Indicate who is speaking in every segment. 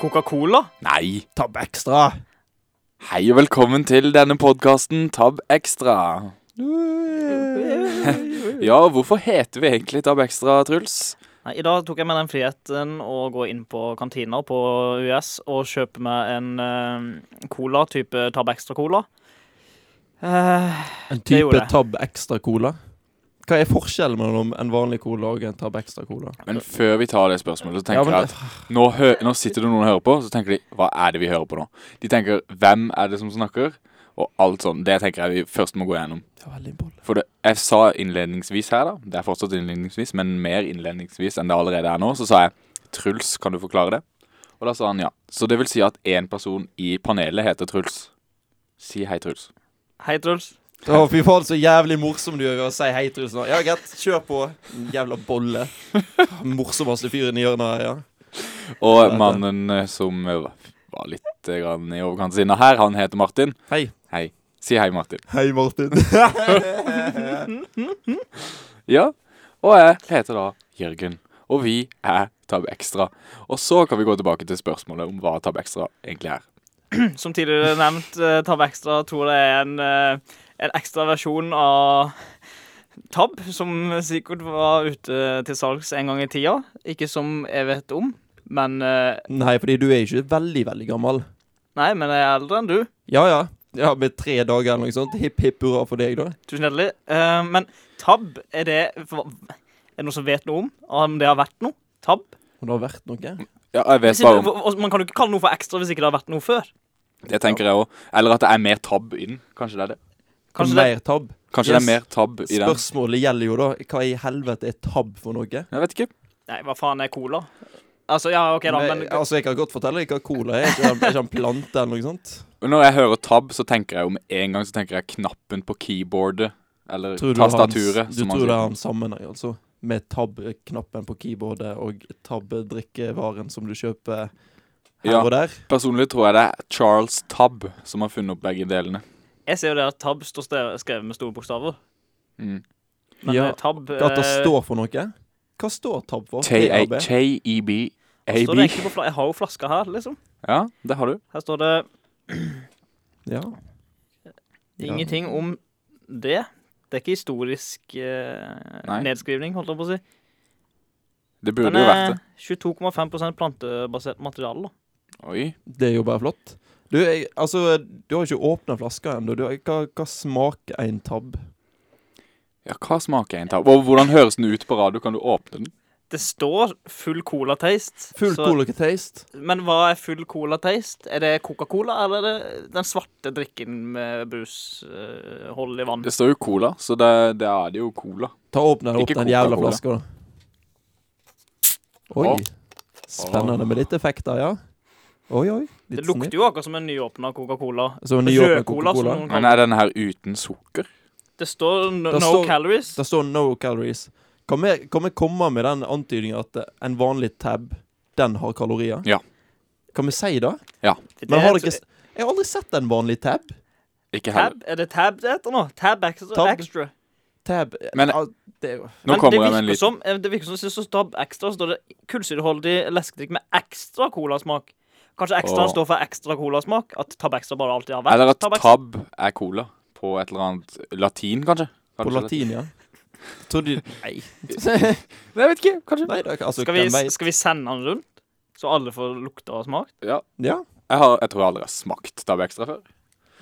Speaker 1: Coca-Cola?
Speaker 2: Nei.
Speaker 3: Tab Extra.
Speaker 2: Hei og velkommen til denne podkasten Tab Extra. Ja, hvorfor heter vi egentlig Tab Extra, Truls?
Speaker 1: Nei, I dag tok jeg meg den friheten å gå inn på kantina på US og kjøpe meg en eh, cola, type Tab Extra-cola. Eh,
Speaker 3: En
Speaker 1: Det gjorde
Speaker 3: type
Speaker 1: jeg.
Speaker 3: Tab Extra Cola. Hva er forskjellen mellom en vanlig cola og en Tab Extra Cola?
Speaker 2: Men før vi tar det spørsmålet, så tenker
Speaker 3: Ja, men-
Speaker 2: jeg at nå, hø nå sitter det noen og hører på, så tenker de Hva er det vi hører på nå? De tenker Hvem er det som snakker? Og alt sånn. Det tenker jeg vi først må gå gjennom.
Speaker 3: Det var veldig bolle.
Speaker 2: For det, jeg sa innledningsvis her, da. Det er fortsatt innledningsvis, men mer innledningsvis enn det allerede er nå. Så sa jeg Truls, kan du forklare det? Og da sa han ja. Så det vil si at én person i panelet heter Truls. Si hei, Truls.
Speaker 1: hei, Truls.
Speaker 3: Å, fy faen, så jævlig morsom du er ved å si hei, Truls. nå. Ja, greit, kjør på. Jævla bolle. Morsommeste fyren i hjørnet her, ja.
Speaker 2: Og mannen eh, som eh, var litt eh, grann i overkant sinna her, han heter Martin.
Speaker 3: Hei.
Speaker 2: Hei. Si hei, Martin.
Speaker 3: Hei, Martin.
Speaker 2: Ja. Og jeg heter da Jørgen. Og vi er Tab Extra. Og så kan vi gå tilbake til spørsmålet om hva Tab Extra egentlig er.
Speaker 1: Som tidligere nevnt, eh, Tab Extra tror det er en, eh, en ekstra versjon av Tab, som sikkert var ute til salgs en gang i tida. Ikke som jeg vet om, men eh,
Speaker 3: Nei, fordi du er ikke veldig, veldig gammel.
Speaker 1: Nei, men jeg er eldre enn du.
Speaker 3: Ja, ja. Ja, Med tre dager eller noe sånt. Hipp, hipp hurra for deg, da.
Speaker 1: Tusen hjertelig. Eh, men Tab, er det for, Er det noen som vet noe om? Om det har vært noe? Tab?
Speaker 3: Og det har vært noe.
Speaker 2: Ja, jeg vet bare om
Speaker 1: Siden- og Man kan jo ikke kalle noe for ekstra hvis ikke det har vært noe før.
Speaker 2: Det tenker jeg òg. Eller at det er mer tab i den. Kanskje det er det.
Speaker 1: Kanskje det,
Speaker 3: Mer tab.
Speaker 2: Kanskje
Speaker 3: Yes.
Speaker 2: det er mer tab i den.
Speaker 3: Spørsmålet gjelder jo da hva i helvete er tab for noe?
Speaker 2: Jeg vet ikke.
Speaker 1: Nei, hva faen er cola? Altså, ja, OK, da, men
Speaker 3: altså, Jeg kan godt fortelle deg hva cola er. Er ikke det- er ikke en plante eller noe sånt?
Speaker 2: Men Når jeg hører tab, så tenker jeg jo med en gang så tenker jeg knappen på keyboardet. Eller
Speaker 3: Tror du har hans-
Speaker 2: tastaturet.
Speaker 3: Du
Speaker 2: som man
Speaker 3: tror det
Speaker 2: sier.
Speaker 3: har en sammenheng, altså? Med tab-knappen på keyboardet og tab-drikkevaren som du kjøper her
Speaker 2: Ja.
Speaker 3: og der?
Speaker 2: Personlig tror jeg det er Charles Tabb som har funnet opp begge delene.
Speaker 1: jeg ser jo det at Tab står ste- skrevet med store bokstaver.
Speaker 2: Mm.
Speaker 1: Men
Speaker 3: Ja,
Speaker 1: eh, Tab
Speaker 3: At det
Speaker 1: eh,
Speaker 3: står for noe? Hva står tab for? TAB?
Speaker 1: står det
Speaker 2: T-A-T-E-B-A-B.
Speaker 1: egentlig på fla Jeg har jo flaska her, liksom.
Speaker 2: Ja, det har du.
Speaker 1: Her står det
Speaker 3: Ja. Ja.
Speaker 1: ingenting om det. Det er ikke historisk eh,
Speaker 2: Nei.
Speaker 1: nedskrivning, holdt jeg på å si.
Speaker 2: Det burde
Speaker 1: Den
Speaker 2: jo vært
Speaker 1: er
Speaker 2: det.
Speaker 1: 22,5 plantebasert materiale. da.
Speaker 2: Oi.
Speaker 3: Det er jo bare flott. Du, jeg, altså, du har ikke åpna flaska ennå. Du- Hva, hva smaker en tab?
Speaker 2: Ja, hva smaker en tab? Og hvordan høres den ut på radio? Kan du åpne den?
Speaker 1: Det står full cola taste.
Speaker 3: Full
Speaker 1: så-
Speaker 3: cola taste.
Speaker 1: Men hva er full cola taste? Er det Coca-Cola, eller er det den svarte drikken med brushold i vann?
Speaker 2: Det står jo cola, så det, det er det jo cola.
Speaker 3: Ta og åpne den opp
Speaker 2: Ikke
Speaker 3: den jævla
Speaker 2: Coca-Cola.
Speaker 3: flaska, da. Oi.
Speaker 2: Åh.
Speaker 3: Spennende med litt effekter, ja. Oi, oi.
Speaker 1: Det
Speaker 3: Litt
Speaker 1: lukter jo akkurat som en nyåpna Coca-Cola.
Speaker 3: Som en nyåpnet
Speaker 1: Rød cola, som
Speaker 3: Coca-Cola.
Speaker 1: noen
Speaker 2: Men
Speaker 1: kaller det.
Speaker 2: er den her uten sukker?
Speaker 1: Det står no,
Speaker 3: Det
Speaker 1: no
Speaker 3: står-
Speaker 1: calories.
Speaker 3: Det står 'no calories'. Kan vi, kan vi komme med den antydningen at eh, en vanlig tab, den har kalorier?
Speaker 2: Ja.
Speaker 3: Kan vi si det?
Speaker 1: Det
Speaker 3: Men
Speaker 1: er
Speaker 3: har
Speaker 1: et-
Speaker 3: dere s- Jeg har aldri sett en vanlig tab.
Speaker 2: Ikke heller.
Speaker 1: Tab? Er det tab det heter nå? Tab extra?
Speaker 3: Tab.
Speaker 1: extra.
Speaker 3: Tab
Speaker 2: Men-
Speaker 3: ah, det er jo
Speaker 2: Nå
Speaker 1: Men det
Speaker 2: kommer jeg
Speaker 1: virker
Speaker 2: med en liten
Speaker 1: som eh, Det virker som det står tab extra, så står det kullsyreholdig leskedrikk med ekstra colasmak. Kanskje ekstra
Speaker 2: Åh.
Speaker 1: står for ekstra colasmak? At tab extra bare alltid har vært
Speaker 2: Eller at
Speaker 1: Tab Extra?
Speaker 2: tab er cola på et eller annet latin, kanskje?
Speaker 3: på
Speaker 2: Kanskje
Speaker 3: latin, ja. Tror du Nei.
Speaker 2: det- Jeg vet ikke, kanskje.
Speaker 3: Nei det er ikke- altså,
Speaker 1: Skal vi,
Speaker 3: hvem vet?
Speaker 1: skal vi sende den rundt, så alle får lukta og smakt?
Speaker 2: Ja.
Speaker 3: Ja.
Speaker 2: Jeg, har, jeg tror jeg aldri har smakt Tab Extra før.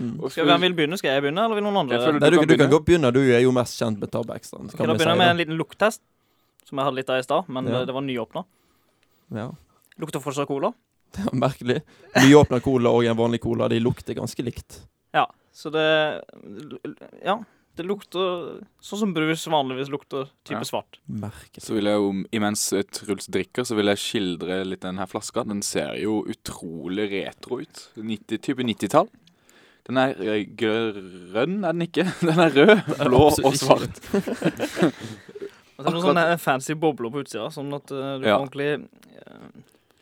Speaker 3: Mm.
Speaker 2: Og
Speaker 1: Skal, hvem vil begynne? Skal jeg begynne, eller vil noen andre?
Speaker 2: Jeg
Speaker 1: Skal
Speaker 2: føler-
Speaker 3: Nei, du,
Speaker 2: kan
Speaker 3: du kan
Speaker 2: begynne.
Speaker 3: godt begynne. Du er jo mest kjent med tab extra. Kan
Speaker 1: jeg
Speaker 3: vi si
Speaker 1: begynne med en
Speaker 3: det?
Speaker 1: liten lukttest? Som jeg hadde litt av i stad, men
Speaker 3: Ja.
Speaker 1: eh, det var nyåpna.
Speaker 3: Ja.
Speaker 1: Lukter fortsatt cola.
Speaker 3: Ja, Merkelig. Nyåpna cola og en vanlig cola, de lukter ganske likt.
Speaker 1: Ja, så det Ja. Det lukter sånn som brus vanligvis lukter. Type
Speaker 2: Ja.
Speaker 1: svart.
Speaker 3: Merkelig.
Speaker 2: Så vil jeg jo, imens eh, Truls drikker, så vil jeg skildre litt den her flaska. Den ser jo utrolig retro ut. 90, type 90-tall. Den er eh, grønn, er den ikke? Den er rød, blå og
Speaker 3: absolutt ikke
Speaker 2: svart.
Speaker 1: Og så er det noen
Speaker 2: Akkurat-
Speaker 1: sånne eh, fancy bobler på utsida, sånn at eh, du
Speaker 2: Ja.
Speaker 1: kan ordentlig eh,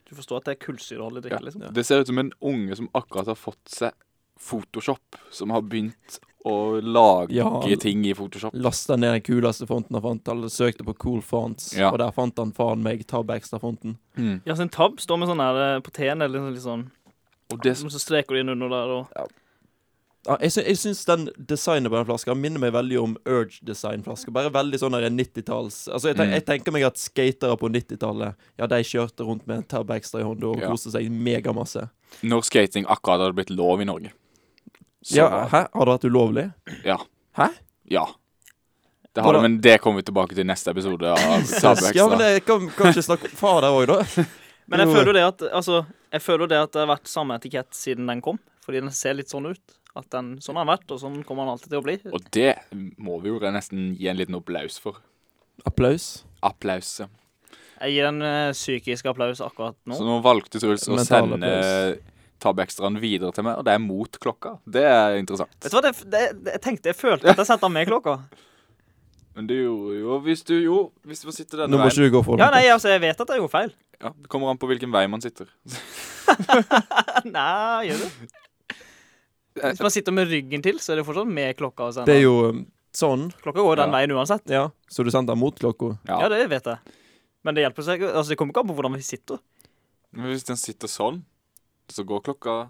Speaker 1: Du forstår at det er kullsyreholdig drikke,
Speaker 2: Ja.
Speaker 1: liksom.
Speaker 2: Det ser ut som en unge som akkurat har fått seg Photoshop, som har begynt og lage
Speaker 3: Ja.
Speaker 2: ting i Photoshop.
Speaker 3: Lasta ned den kuleste fonten han fant, eller søkte på Cool Fonts,
Speaker 2: Ja.
Speaker 3: og der fant han faen meg Tab Extra-fonten.
Speaker 2: Mm.
Speaker 1: Ja, så en tab står med sånn her eh, på T-en, eller litt sånn,
Speaker 2: Og det,
Speaker 1: så streker du inn under der, og
Speaker 3: Ja, Ah, jeg, sy jeg syns den designet på den flaska minner meg veldig om Urge-designflasker. Bare veldig sånn 90-talls Altså, jeg, ten
Speaker 2: Mm.
Speaker 3: jeg tenker meg at skatere på 90-tallet, ja, de kjørte rundt med en Tab Extra i hånda og
Speaker 2: Ja.
Speaker 3: koste seg megamasse.
Speaker 2: når skating akkurat hadde blitt lov i Norge. Så-
Speaker 3: Ja, hæ? Har det vært ulovlig?
Speaker 2: Ja.
Speaker 3: Hæ?
Speaker 2: Ja. Det har det,
Speaker 3: Hvordan-
Speaker 2: men det kommer vi tilbake til i neste episode av Tabbe
Speaker 3: Ja, men
Speaker 2: Ekstra.
Speaker 3: jeg kan, kan ikke snakke om far der òg, da.
Speaker 1: Men jeg
Speaker 3: Jo.
Speaker 1: føler jo det at Altså, jeg føler jo det at det har vært samme etikett siden den kom. Fordi den ser litt sånn ut. At den, Sånn har den vært, og sånn kommer den alltid til å bli.
Speaker 2: Og det må vi jo nesten gi en liten applaus for.
Speaker 3: Applaus.
Speaker 2: Applaus, ja.
Speaker 1: Jeg gir den eh, psykisk applaus akkurat
Speaker 2: Så
Speaker 1: nå.
Speaker 2: nå valgte Truls å
Speaker 3: Mental
Speaker 2: sende
Speaker 3: applaus.
Speaker 2: Tabbe Ekstraen videre til meg, og det er mot klokka. Det er interessant.
Speaker 1: Vet du hva, det, det, det, jeg tenkte, jeg følte at jeg satte den med i klokka.
Speaker 2: Men du gjorde jo Hvis du jo, hvis du sitter denne
Speaker 3: Nå må
Speaker 2: veien
Speaker 3: ikke du gå for
Speaker 1: Ja,
Speaker 3: den.
Speaker 1: nei, altså, jeg vet at jeg gjorde feil.
Speaker 2: ja, Det kommer an på hvilken vei man sitter.
Speaker 1: Nei, gjør du? Hvis man sitter med ryggen til, så er det fortsatt med klokka. Og sånn.
Speaker 3: Det er jo um, sånn.
Speaker 1: Klokka går jo den
Speaker 2: Ja.
Speaker 1: veien uansett.
Speaker 3: Ja. Så du sendte den mot klokka?
Speaker 1: Ja. det vet jeg. Men det hjelper seg. Altså, det kommer ikke an på hvordan vi sitter.
Speaker 2: Men hvis den sitter sånn, så går klokka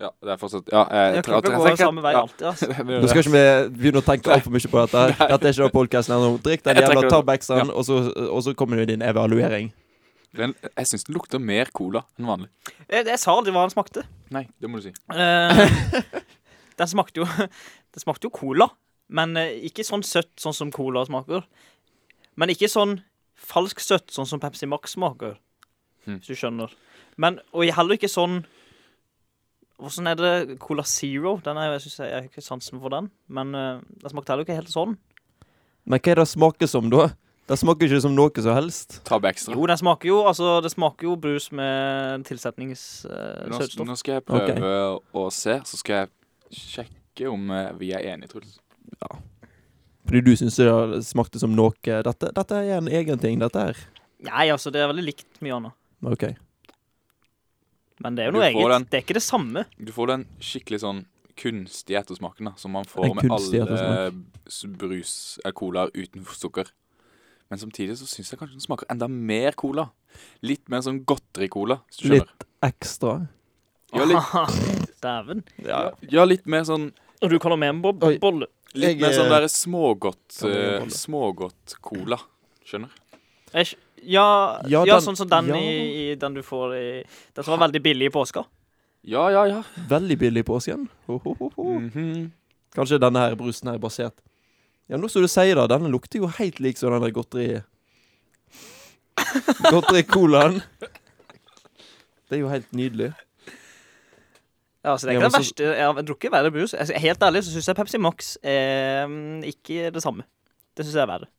Speaker 2: Ja, det er fortsatt Ja, eh,
Speaker 1: Ja,
Speaker 2: tre-
Speaker 1: klokka
Speaker 2: tre-
Speaker 1: går
Speaker 2: tenker-
Speaker 1: samme vei
Speaker 2: ja,
Speaker 1: alltid. Altså.
Speaker 2: det gjør
Speaker 3: Nå skal
Speaker 2: det.
Speaker 3: ikke vi begynne å tenke altfor mye på dette. her. Dette er ikke den podkasten ennå. Drikk den
Speaker 2: Jeg
Speaker 3: jævla
Speaker 2: tenker-
Speaker 3: Tab Extraen, og, så- og så kommer du i din evaluering.
Speaker 2: Den, jeg syns den lukter mer cola enn vanlig.
Speaker 1: Jeg, jeg sa aldri hva den smakte.
Speaker 2: Nei, det må du si.
Speaker 1: Eh, den smakte jo Den smakte jo cola, men eh, ikke sånn søtt sånn som cola smaker. Men ikke sånn falsk søtt sånn som Pepsi Max smaker,
Speaker 2: Hmm.
Speaker 1: hvis du skjønner. Men, og heller ikke sånn Hvordan er det Cola Zero? Den er, jeg synes jeg, jeg har ikke sansen for den, men eh, den smakte heller ikke helt sånn.
Speaker 3: Men hva er det det smaker som, da? Det smaker ikke som noe som helst.
Speaker 2: Tabbe Ekstra.
Speaker 1: Jo, den smaker jo altså, det smaker jo brus med tilsetningssøtstoff.
Speaker 2: Nå,
Speaker 1: søtstoff
Speaker 2: nå skal jeg prøve å se, så skal jeg sjekke om eh, vi er enige, Truls.
Speaker 3: Fordi du syns det smakte som noe Dette, dette er en egen ting, dette her.
Speaker 1: Nei, altså, det er veldig likt mye annet.
Speaker 3: OK.
Speaker 1: Men det er jo
Speaker 2: Du
Speaker 1: noe
Speaker 2: får
Speaker 1: eget.
Speaker 2: den.
Speaker 1: Det er ikke det samme.
Speaker 2: Du får den skikkelig sånn kunstige ettersmaken da, som man får
Speaker 3: En
Speaker 2: med
Speaker 3: kunstig
Speaker 2: alle s- brus eller cola uten sukker. Men samtidig så syns jeg kanskje den smaker enda mer cola. Litt mer sånn godteri-cola, hvis du skjønner.
Speaker 3: Litt ekstra.
Speaker 2: Ja, litt,
Speaker 1: Dæven.
Speaker 3: Ja.
Speaker 2: ja, litt mer sånn
Speaker 1: Og du kaller meg en bob
Speaker 3: Oi.
Speaker 1: bolle.
Speaker 2: Litt
Speaker 3: Jeg,
Speaker 2: mer sånn
Speaker 3: eh,
Speaker 2: derre smågodt
Speaker 3: kan jeg
Speaker 2: eh,
Speaker 3: holde?
Speaker 2: Smågodt-cola. Skjønner?
Speaker 1: Æsj. Ja, ja,
Speaker 3: Ja, den-
Speaker 1: sånn som den,
Speaker 3: ja.
Speaker 1: i, i, den du får i Den som var veldig billig i påska.
Speaker 2: Ja, ja, ja.
Speaker 3: Veldig billig i påsken. Ho, ho, ho, ho.
Speaker 2: Mhm.
Speaker 3: Kanskje denne her brusen her er basert Ja, nå som du sier det, denne lukter jo helt lik som den der godteri... Godteri-colaen. Det er jo helt nydelig.
Speaker 1: Ja, så det er
Speaker 3: Ja,
Speaker 1: ikke
Speaker 3: men
Speaker 1: det verste. Jeg har drukket verre brus. Altså, helt ærlig så syns jeg Pepsi Max er mm, ikke det samme. Det syns jeg er verre.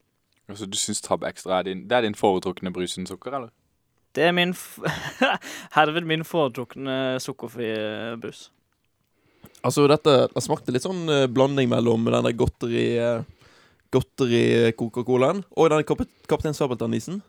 Speaker 2: Altså, du syns Tab Extra er din, det er din foretrukne brus uten sukker, eller?
Speaker 1: Det er min f herved min foretrukne sukkerfrie brus.
Speaker 3: Altså, dette det smakte litt sånn eh, blanding mellom den der godteri... Eh, Godteri-Coca-Colaen og den Kap Kaptein Sabeltann-isen.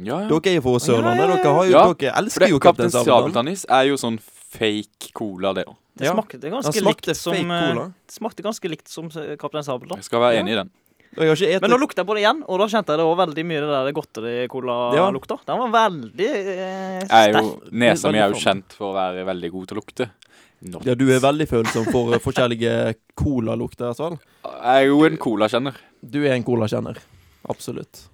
Speaker 2: Ja, ja.
Speaker 3: Dere er jo fra
Speaker 1: Ja,
Speaker 3: Sørlandet.
Speaker 1: ja, ja.
Speaker 3: Dere, har jo,
Speaker 2: Ja,
Speaker 3: dere
Speaker 2: For
Speaker 3: elsker
Speaker 2: det,
Speaker 3: jo
Speaker 2: Kaptein
Speaker 3: Kaptein Sabeltann.
Speaker 2: Sabeltannis er jo sånn fake cola, det òg.
Speaker 1: Det
Speaker 3: Ja.
Speaker 1: smakte
Speaker 3: Den
Speaker 1: ganske
Speaker 3: smakte
Speaker 1: likt som
Speaker 3: fake
Speaker 1: eh,
Speaker 3: cola.
Speaker 1: Det smakte ganske likt som eh, Kaptein Sabeltann.
Speaker 2: Jeg skal være
Speaker 3: Ja.
Speaker 2: enig i den.
Speaker 3: Og jeg har ikke
Speaker 1: Men nå
Speaker 3: etet
Speaker 1: lukta jeg på det igjen, og da kjente jeg det også veldig mye det der
Speaker 3: Ja.
Speaker 1: godteri-cola-lukta. Den var veldig eh,
Speaker 2: Jeg er
Speaker 1: sterk.
Speaker 2: jo, nesa mi er jo
Speaker 3: Veldig
Speaker 2: kjent for å være veldig god til å lukte. Nå-
Speaker 3: Ja, du er veldig følsom for eh, forskjellige colalukter, i hvert fall.
Speaker 2: Jeg er jo en colakjenner.
Speaker 3: Du er en colakjenner. Absolutt.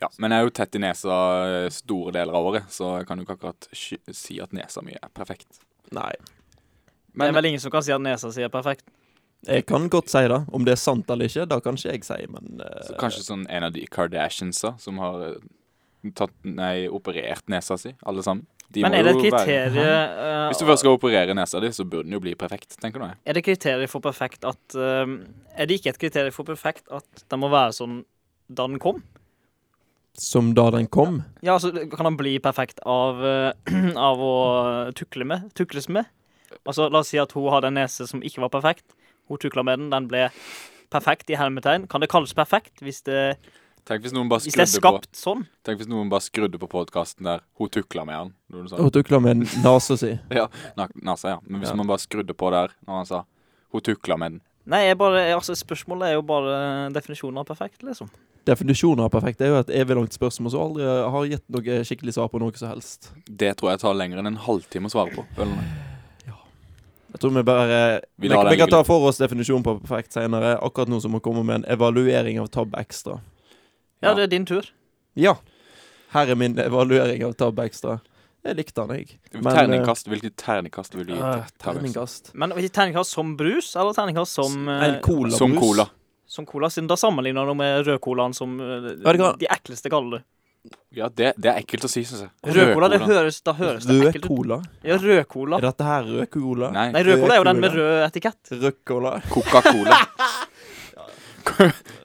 Speaker 2: Ja, men jeg er jo tett i nesa eh, store deler av året, så jeg kan jo ikke akkurat sky- si at nesa mi er perfekt.
Speaker 3: Nei.
Speaker 1: Det er
Speaker 2: Men
Speaker 1: vel ingen som kan si at nesa si er perfekt.
Speaker 3: Jeg kan godt si det. Om det er sant eller ikke, da kan ikke jeg si, men eh,
Speaker 2: Så kanskje sånn en av de Kardashiansa som har eh, tatt, nei, operert nesa si, alle sammen. De
Speaker 1: Men
Speaker 2: må
Speaker 1: er det et
Speaker 2: jo
Speaker 1: kriterium
Speaker 2: Være, hvis du
Speaker 1: eh,
Speaker 2: først skal operere nesa di, så burde den jo bli perfekt, tenker nå jeg.
Speaker 1: Er det kriterium for perfekt at eh, Er det ikke et kriterium for perfekt at den må være sånn da den kom?
Speaker 3: Som da den kom.
Speaker 1: Ja, altså, kan den bli perfekt av, eh, av å tukle med? Tukles med? Altså, la oss si at hun hadde en nese som ikke var perfekt. Hun tukla med den, den ble perfekt i hermetegn. Kan det kalles perfekt hvis det,
Speaker 2: Tenk hvis noen bare
Speaker 1: hvis det er
Speaker 2: skrudde på
Speaker 1: skapt sånn?
Speaker 2: Tenk hvis noen bare skrudde på podkasten der hun tukla med han. Når du sa.
Speaker 3: Og tukla med nesa si.
Speaker 2: Ja, na- nasa, ja. Men hvis
Speaker 3: Ja.
Speaker 2: man bare skrudde på der når han sa hun tukla med den,
Speaker 1: Nei, jeg bare, jeg- altså, spørsmålet er jo bare definisjonen av perfekt, liksom.
Speaker 3: Definisjonen av perfekt er jo et evig langt spørsmål som aldri har gitt noe skikkelig svar på noe som helst.
Speaker 2: Det tror jeg tar lenger enn en halvtime å svare på. føler jeg.
Speaker 3: Jeg tror vi bare
Speaker 2: Vi
Speaker 3: Vi,
Speaker 2: lar den
Speaker 3: vi kan
Speaker 2: ligge
Speaker 3: ta for oss definisjonen på perfekt senere. Akkurat nå så må vi komme med en evaluering av Tab Extra.
Speaker 1: Ja,
Speaker 2: Ja.
Speaker 1: det er din tur.
Speaker 3: Ja. Her er min evaluering av Tab Extra. Jeg likte den, jeg.
Speaker 2: Terningkast,
Speaker 1: eh,
Speaker 2: Hvilket terningkast vil du gi
Speaker 3: eh,
Speaker 1: Ah,
Speaker 2: til Tavex?
Speaker 3: terningkast.
Speaker 1: Men ikke terningkast som brus, eller terningkast som eh,
Speaker 3: En colabrus.
Speaker 2: Som cola.
Speaker 1: Som cola, siden da sammenligner du med rødcolaen som eh,
Speaker 3: Vet du hva?
Speaker 1: de ekleste kaller det.
Speaker 2: Ja, det, det er ekkelt å si, syns jeg.
Speaker 1: Rødcola, det høres, da høres det
Speaker 3: Rød
Speaker 1: ekkelt ut.
Speaker 3: cola?
Speaker 1: Ja, rødcola.
Speaker 3: Er dette her rød cola?
Speaker 2: Nei,
Speaker 1: Nei, rødcola er jo den med
Speaker 3: Rødcola.
Speaker 1: rød etikett.
Speaker 3: Rød cola?
Speaker 2: Coca-Cola.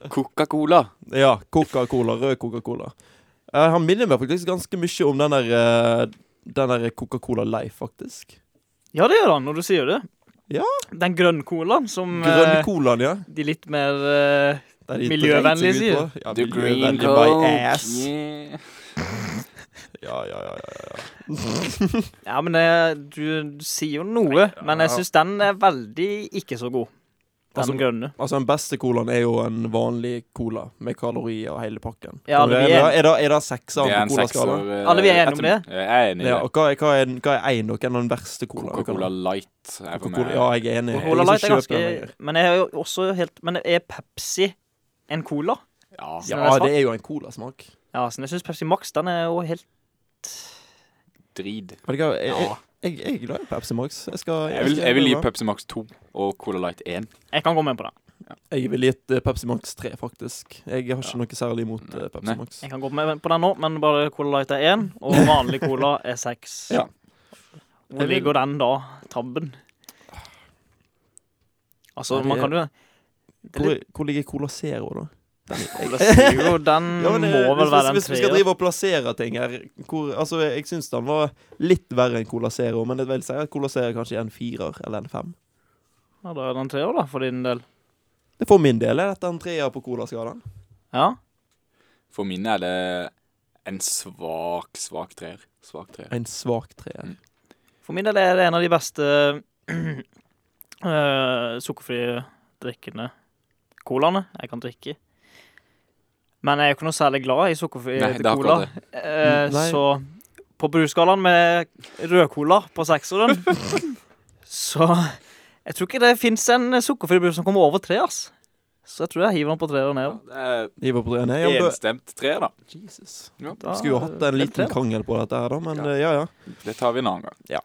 Speaker 2: Coca-Cola.
Speaker 3: Ja. Coca-Cola. Rød Coca-Cola. Eh, han minner meg faktisk ganske mye om den der, eh, den der Coca-Cola Life, faktisk.
Speaker 1: Ja, det gjør han, når du sier det.
Speaker 3: Ja.
Speaker 1: Den grønncolaen som
Speaker 3: Grønn
Speaker 1: eh,
Speaker 3: colaen, ja.
Speaker 1: de litt mer eh,
Speaker 3: Der de
Speaker 1: Miljøvennlig,
Speaker 3: dreit seg ut på. Ja,
Speaker 2: The green
Speaker 3: miljøvennlig by ass.
Speaker 2: Yeah.
Speaker 3: Ja, ja, ja, ja.
Speaker 1: Ja, men eh, du, du sier jo noe, men jeg syns den er veldig ikke så god. Den
Speaker 3: Altså,
Speaker 1: grønne.
Speaker 3: Altså, den beste colaen er jo en vanlig cola med kalorier og hele pakken.
Speaker 1: Ja,
Speaker 3: Kan du-
Speaker 1: det
Speaker 3: er,
Speaker 1: blir en-
Speaker 3: det- er det, er det sekser
Speaker 2: Det er
Speaker 3: på
Speaker 2: en
Speaker 3: colaskalaen?
Speaker 2: sekser. eh,
Speaker 1: Alle vi er enige om
Speaker 2: etter- Jeg er enig i
Speaker 3: Ja,
Speaker 2: det.
Speaker 3: og hva er, hva er, den- hva er en nok en av den verste colaen? du kan
Speaker 2: Coca-Cola
Speaker 3: ha?
Speaker 2: Light er for meg.
Speaker 3: Coca-Cola, ja, jeg er enig. Jeg
Speaker 1: Cola Light er
Speaker 3: ikke kjøper
Speaker 1: ganske
Speaker 3: den lenger.
Speaker 1: Men jeg er jo også helt Men er Pepsi en cola?
Speaker 2: Ja.
Speaker 1: Så den er
Speaker 3: Ja,
Speaker 1: svart.
Speaker 3: det er jo en colasmak.
Speaker 1: Ja, så jeg syns Pepsi Max den er jo helt
Speaker 2: Drit.
Speaker 3: Vet du hva, jeg,
Speaker 2: Ja.
Speaker 3: jeg, jeg, jeg er glad i Pepsi Max. Jeg, skal,
Speaker 2: Jeg vil, jeg vil gi
Speaker 3: gi
Speaker 2: Pepsi Max 2 og Cola Light 1.
Speaker 1: Jeg kan gå med på den.
Speaker 3: Jeg vil gi et, eh, Pepsi Max 3, faktisk. Jeg har ikke noe særlig imot eh,
Speaker 2: Nei.
Speaker 3: Pepsi Max.
Speaker 1: Jeg kan gå med på den nå, men bare Cola Light er én, og vanlig Cola er seks.
Speaker 3: Ja.
Speaker 1: Hvor ligger den da, tabben? Altså,
Speaker 3: Nei,
Speaker 1: man
Speaker 3: det-
Speaker 1: kan jo
Speaker 3: Hvor, hvor ligger Cola Zero, da?
Speaker 1: Cola Zero, den
Speaker 3: Ja,
Speaker 2: Mm,
Speaker 3: men, eh,
Speaker 1: må vel
Speaker 3: hvis,
Speaker 1: være
Speaker 3: hvis,
Speaker 1: en
Speaker 3: hvis vi skal
Speaker 1: treer.
Speaker 3: drive og plassere ting her hvor, Altså, Jeg, jeg syns den var litt verre enn Cola Zero, men jeg vil si at Cola Zero kanskje er en firer eller en fem.
Speaker 1: Ja, da er den treer, da, for din del.
Speaker 3: Det For min del er dette en treer på Cola-skalaen.
Speaker 1: Ja.
Speaker 2: For min er det en svak, svak treer. Svak treer.
Speaker 3: En svak
Speaker 2: Mm.
Speaker 3: treer.
Speaker 1: For min del er det en av de beste eh, sukkerfrie drikkene colaene jeg kan drikke. Men jeg er jo ikke noe særlig glad i sukkerfri
Speaker 2: Nei, det
Speaker 1: cola.
Speaker 2: er akkurat det.
Speaker 1: Eh,
Speaker 3: Mm, nei.
Speaker 1: så på brusskalaen med rødcola på sekseren Så jeg tror ikke det fins en sukkerfri brus som kommer over tre, ass. Så jeg tror jeg hiver den på tre og ned.
Speaker 2: Ja,
Speaker 3: Iver på treene.
Speaker 2: det
Speaker 3: Ja,
Speaker 2: er
Speaker 3: men da-
Speaker 2: enstemt treer, da.
Speaker 3: Jesus.
Speaker 1: Da-
Speaker 3: Skulle jo hatt en
Speaker 1: det er
Speaker 3: liten
Speaker 1: tre.
Speaker 3: krangel på dette her, da, men
Speaker 2: Ja.
Speaker 3: eh, ja ja.
Speaker 2: Det tar vi en annen gang.
Speaker 3: Ja.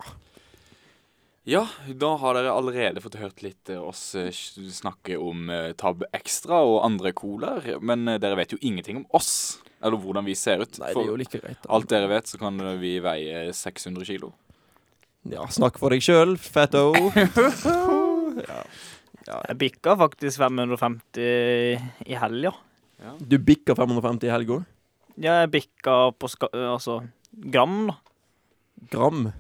Speaker 2: Ja, da har dere allerede fått hørt litt eh, oss eh, snakke om eh, Tab Extra og andre colaer, men eh, dere vet jo ingenting om oss, eller hvordan vi ser ut.
Speaker 3: Nei, det er jo
Speaker 2: For
Speaker 3: like greit. da.
Speaker 2: alt dere vet, så kan eh, vi veie 600 kilo.
Speaker 3: Ja, snakk for deg sjøl, fatto.
Speaker 1: Jeg bikka faktisk 550 i helga.
Speaker 3: Du bikker 550 i helga.
Speaker 1: Ja, jeg bikka på ska altså gram, da.
Speaker 3: Gram.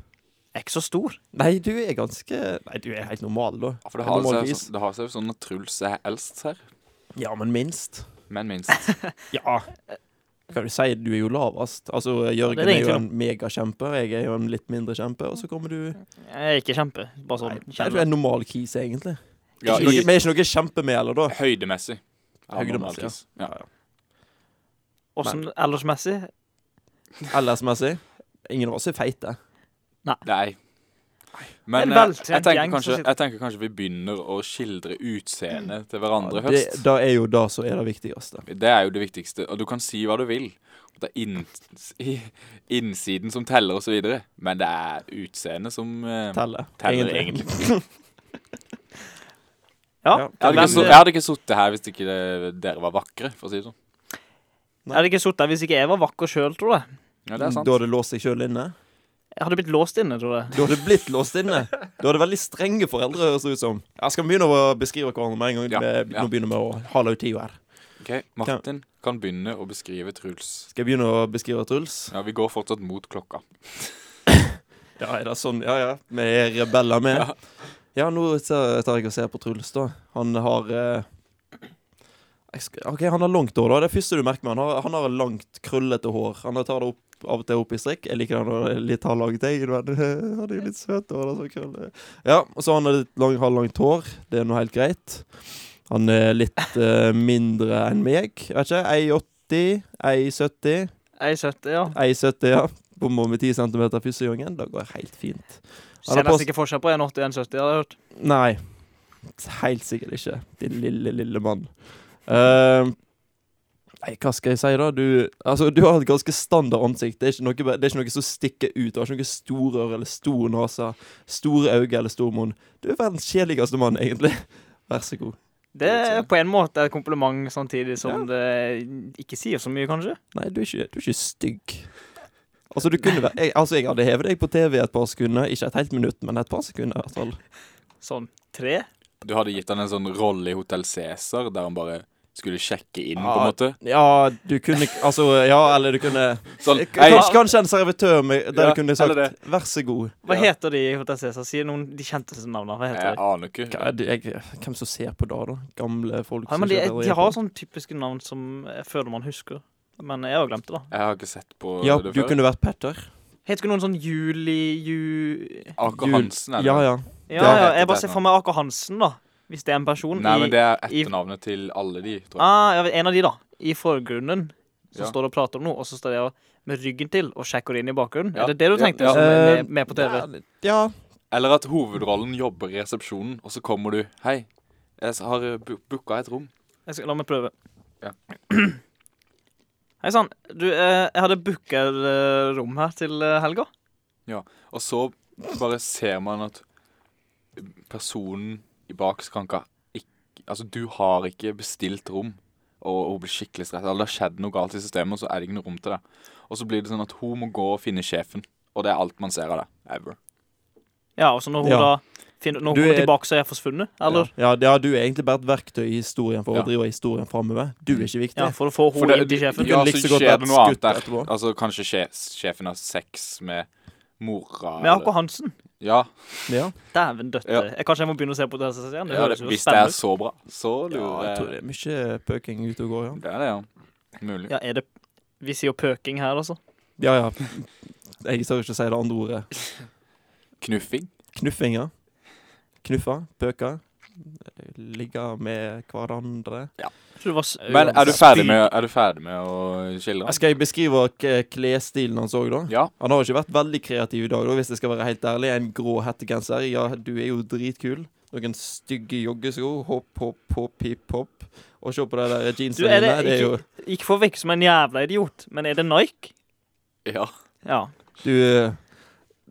Speaker 1: Jeg er ikke så stor.
Speaker 3: Nei, du er ganske Nei, du er helt normal, da.
Speaker 2: Ja, For det
Speaker 3: En
Speaker 2: har,
Speaker 3: normal
Speaker 2: seg,
Speaker 3: gris.
Speaker 2: sånn- det har seg jo sånn at Truls er eldst her,
Speaker 3: Ja, men minst.
Speaker 2: men minst.
Speaker 3: Ja. Kan du si du er jo lavest? Altså, Jørgen
Speaker 1: det er
Speaker 3: er, jo
Speaker 1: egentlig
Speaker 3: en megakjempe, jeg er jo en litt mindre kjempe, og så kommer du
Speaker 1: Jeg er ikke kjempe. Bare sånn.
Speaker 3: Nei, nei, du er en normal kis, egentlig.
Speaker 2: Ja,
Speaker 3: Ikke noe-
Speaker 2: i,
Speaker 3: Vi er ikke noe kjempe med, eller da?
Speaker 2: høydemessig. Ja,
Speaker 3: Høydemessig,
Speaker 2: normal kis. Ja.
Speaker 1: Åssen ellersmessig?
Speaker 3: LS-messig. Ingen av oss er feite.
Speaker 2: Nei. Men
Speaker 1: En
Speaker 2: eh,
Speaker 1: veltrent
Speaker 2: jeg tenker,
Speaker 1: gjeng som
Speaker 2: kanskje,
Speaker 1: sitter-
Speaker 2: jeg tenker kanskje vi begynner å skildre utseendet til hverandre
Speaker 3: det,
Speaker 2: først.
Speaker 3: da er jo det som er det viktigste.
Speaker 2: Det er jo det viktigste. Og du kan si hva du vil. Det er inns- i- innsiden som teller, osv. Men det er utseendet som eh,
Speaker 3: Telle.
Speaker 2: teller, egentlig.
Speaker 1: Ja. eh,
Speaker 3: Ja.
Speaker 2: Jeg hadde
Speaker 1: hvem-
Speaker 2: ikke, så, jeg hadde ikke sittet her hvis ikke eh, dere var vakre, for å si det sånn.
Speaker 1: Jeg hadde ikke sittet der hvis ikke jeg var vakker sjøl, tror jeg.
Speaker 2: Ja, det er sant.
Speaker 3: Da hadde det låst seg sjøl inne.
Speaker 1: Jeg hadde blitt låst inne, tror jeg.
Speaker 3: Du hadde blitt låst inne. Du hadde veldig strenge foreldre, høres det ut som. Jeg skal vi begynne å beskrive hverandre med en gang.
Speaker 2: Ja,
Speaker 3: Med,
Speaker 2: ja.
Speaker 3: Nå begynner vi å ha lav tid her.
Speaker 2: Ok, Martin kan begynne å beskrive Truls.
Speaker 3: Skal jeg begynne å beskrive Truls?
Speaker 2: Ja, Vi går fortsatt mot klokka.
Speaker 3: Ja, er det sånn? Ja, ja. Vi er rebeller, vi. Ja. nå ser- tar jeg og ser på Truls, da. Han har eh, jeg skal, OK, han har langt hår, da. Det er første du merker med han har, han har langt, krøllete hår. Han tar det opp av og til opp i strikk. Jeg liker den når det er litt halvlangt, jeg. Men han er jo litt søt. Og han har sånn krølle. Ja, og så han har litt lang, halvlangt hår. Det er nå helt greit. Han er litt eh, mindre enn meg. Jeg vet ikke. 1,80, 1,70.
Speaker 1: Jeg er 70, ja.
Speaker 3: 1,70, ja. Bommer med 10 cm første gangen. Det går helt fint.
Speaker 1: Ser
Speaker 3: Han har
Speaker 1: nesten
Speaker 3: post-
Speaker 1: ikke forskjell på 1,80 og 1,70, har jeg hørt.
Speaker 3: Nei. Helt sikkert ikke. Din lille, lille mann. Eh, nei, hva skal jeg si, da? Du, altså, du har et ganske standard ansikt. Det er ikke noe, det er ikke noe som stikker ut. Du har ikke noe store ører eller stor nese, store øyne eller stor munn. Du er verdens kjedeligste mann, egentlig. Vær så god.
Speaker 1: Det er på en måte et kompliment, samtidig som det ikke sier så mye, kanskje.
Speaker 3: Nei, du er ikke, du er ikke stygg. Altså, du kunne vært jeg, altså, jeg hadde hevet deg på TV et par sekunder. Ikke et helt minutt, men et par sekunder. i hvert fall.
Speaker 1: Sånn tre.
Speaker 2: Du hadde gitt han en sånn rolle i Hotell Cæsar, der han bare skulle sjekke inn, på en
Speaker 3: Ja.
Speaker 2: måte.
Speaker 3: Ja, du kunne Altså, ja, eller du kunne
Speaker 2: Sånn,
Speaker 3: K-
Speaker 2: «Hei,
Speaker 3: Kanskje, kanskje en servitør med, der
Speaker 2: Ja,
Speaker 3: du kunne sagt
Speaker 2: eller det.
Speaker 3: 'vær så god'.
Speaker 1: Hva
Speaker 2: Ja.
Speaker 1: heter de i Hotel Cæsar? Si noen de kjenteste navnene. Hva heter
Speaker 2: Jeg
Speaker 1: de?
Speaker 2: aner ikke.
Speaker 3: Hva er det- jeg- Hvem som ser på da, da? Gamle folk
Speaker 1: Ja, men de,
Speaker 3: kjøper
Speaker 1: de har sånn-
Speaker 3: Japan.
Speaker 1: sånne typiske navn som jeg føler man husker. Men jeg har glemt det, da.
Speaker 2: Jeg har ikke sett på
Speaker 3: Ja,
Speaker 2: det
Speaker 3: du
Speaker 2: før.
Speaker 3: kunne vært Petter.
Speaker 1: Heter ikke noen sånn Juli Ju...
Speaker 2: Aker
Speaker 3: Jul-
Speaker 2: Ah, Hansen, er det
Speaker 3: Ja,
Speaker 2: vel?
Speaker 3: ja.
Speaker 1: Ja,
Speaker 2: Det er
Speaker 1: ja,
Speaker 2: rett
Speaker 1: jeg
Speaker 2: og
Speaker 1: bare
Speaker 2: slett
Speaker 1: ser
Speaker 2: navn.
Speaker 1: for meg Aker Hansen, da. Hvis det er en person
Speaker 2: Nei, men
Speaker 1: i
Speaker 2: det er
Speaker 1: i-
Speaker 2: etternavnet til alle de, tror jeg.
Speaker 1: ah, ja, En av de, da. I forgrunnen. Så
Speaker 2: Ja.
Speaker 1: står det og prater om noe, og så står de og- med ryggen til og sjekker inn i bakgrunnen.
Speaker 2: Ja.
Speaker 1: Er det det du
Speaker 2: Ja.
Speaker 1: tenkte?
Speaker 2: Ja.
Speaker 1: Som er med,
Speaker 3: Eh,
Speaker 1: med på TV?
Speaker 3: Ja, ja.
Speaker 2: Eller at hovedrollen jobber i resepsjonen, og så kommer du Hei, jeg har eh, bu- booka et rom.
Speaker 1: Jeg skal, la meg prøve.
Speaker 2: Ja.
Speaker 1: Hei sann. Du, eh, jeg hadde booka eh, rom her til eh, helga.
Speaker 2: Og så bare ser man at personen i bak skranka ikke, Altså, du har ikke bestilt rom, og hun blir skikkelig stressa. Eller det har skjedd noe galt i systemet, og så er det ikke noe rom til det. Og så blir det sånn at hun må gå og finne sjefen, og det er alt man ser av det. Ever.
Speaker 1: Ja, og så når hun
Speaker 3: Ja.
Speaker 1: da finner, Når
Speaker 3: Du
Speaker 1: hun kommer
Speaker 3: er-
Speaker 1: tilbake, så er jeg forsvunnet? Eller?
Speaker 3: Ja, ja, du er egentlig bare et verktøy i historien for
Speaker 2: Ja.
Speaker 3: å drive historien framover. Du er ikke viktig.
Speaker 1: Ja, for å få
Speaker 2: For
Speaker 1: henne
Speaker 2: det-
Speaker 1: inn til sjefen?
Speaker 2: Ja,
Speaker 3: Du kunne like
Speaker 2: så
Speaker 3: så godt
Speaker 2: skjer
Speaker 3: vært
Speaker 2: det noe annet
Speaker 3: skutt
Speaker 2: der.
Speaker 3: etterpå.
Speaker 2: Altså, kanskje sje- sjefen har sex med mora
Speaker 1: Med Aker Hansen?
Speaker 2: Ja,
Speaker 3: Ja.
Speaker 1: Dæven døtte.
Speaker 2: Ja.
Speaker 1: Jeg, kanskje jeg må begynne å se på det her igjen? Det
Speaker 2: ja
Speaker 1: høres
Speaker 2: det,
Speaker 1: jo
Speaker 2: hvis det er
Speaker 1: spennende ut.
Speaker 2: så bra, så
Speaker 3: ja,
Speaker 2: lurer
Speaker 3: jeg tror
Speaker 2: jeg
Speaker 3: det er mye pøking ute og går, ja.
Speaker 2: Det er det, ja. Mulig.
Speaker 1: Ja, er det Vi sier jo pøking her, altså.
Speaker 3: Ja, ja. Jeg tør ikke si det andre ordet.
Speaker 2: Knuffing?
Speaker 3: Knuffinger. Knuffa. Pøka. Ligge med hverandre.
Speaker 1: Jeg tror det var s-
Speaker 2: Men er du ferdig med, er du ferdig med å skildre?
Speaker 3: Skal jeg beskrive k- klesstilen hans òg, da?
Speaker 2: Ja.
Speaker 3: Han har jo ikke vært veldig kreativ i dag, da, hvis jeg skal være helt ærlig. En grå hettegenser. Ja, du er jo dritkul. Noen stygge joggesko. Hopp, hopp, hopp, hipp, hopp. Og se på de der
Speaker 1: Du,
Speaker 3: jeansene
Speaker 1: er det,
Speaker 3: dine. Det er jo
Speaker 1: ikke, ikke for å virke som en jævla idiot, men er det Nike?
Speaker 2: ja.
Speaker 1: Ja.
Speaker 3: Du,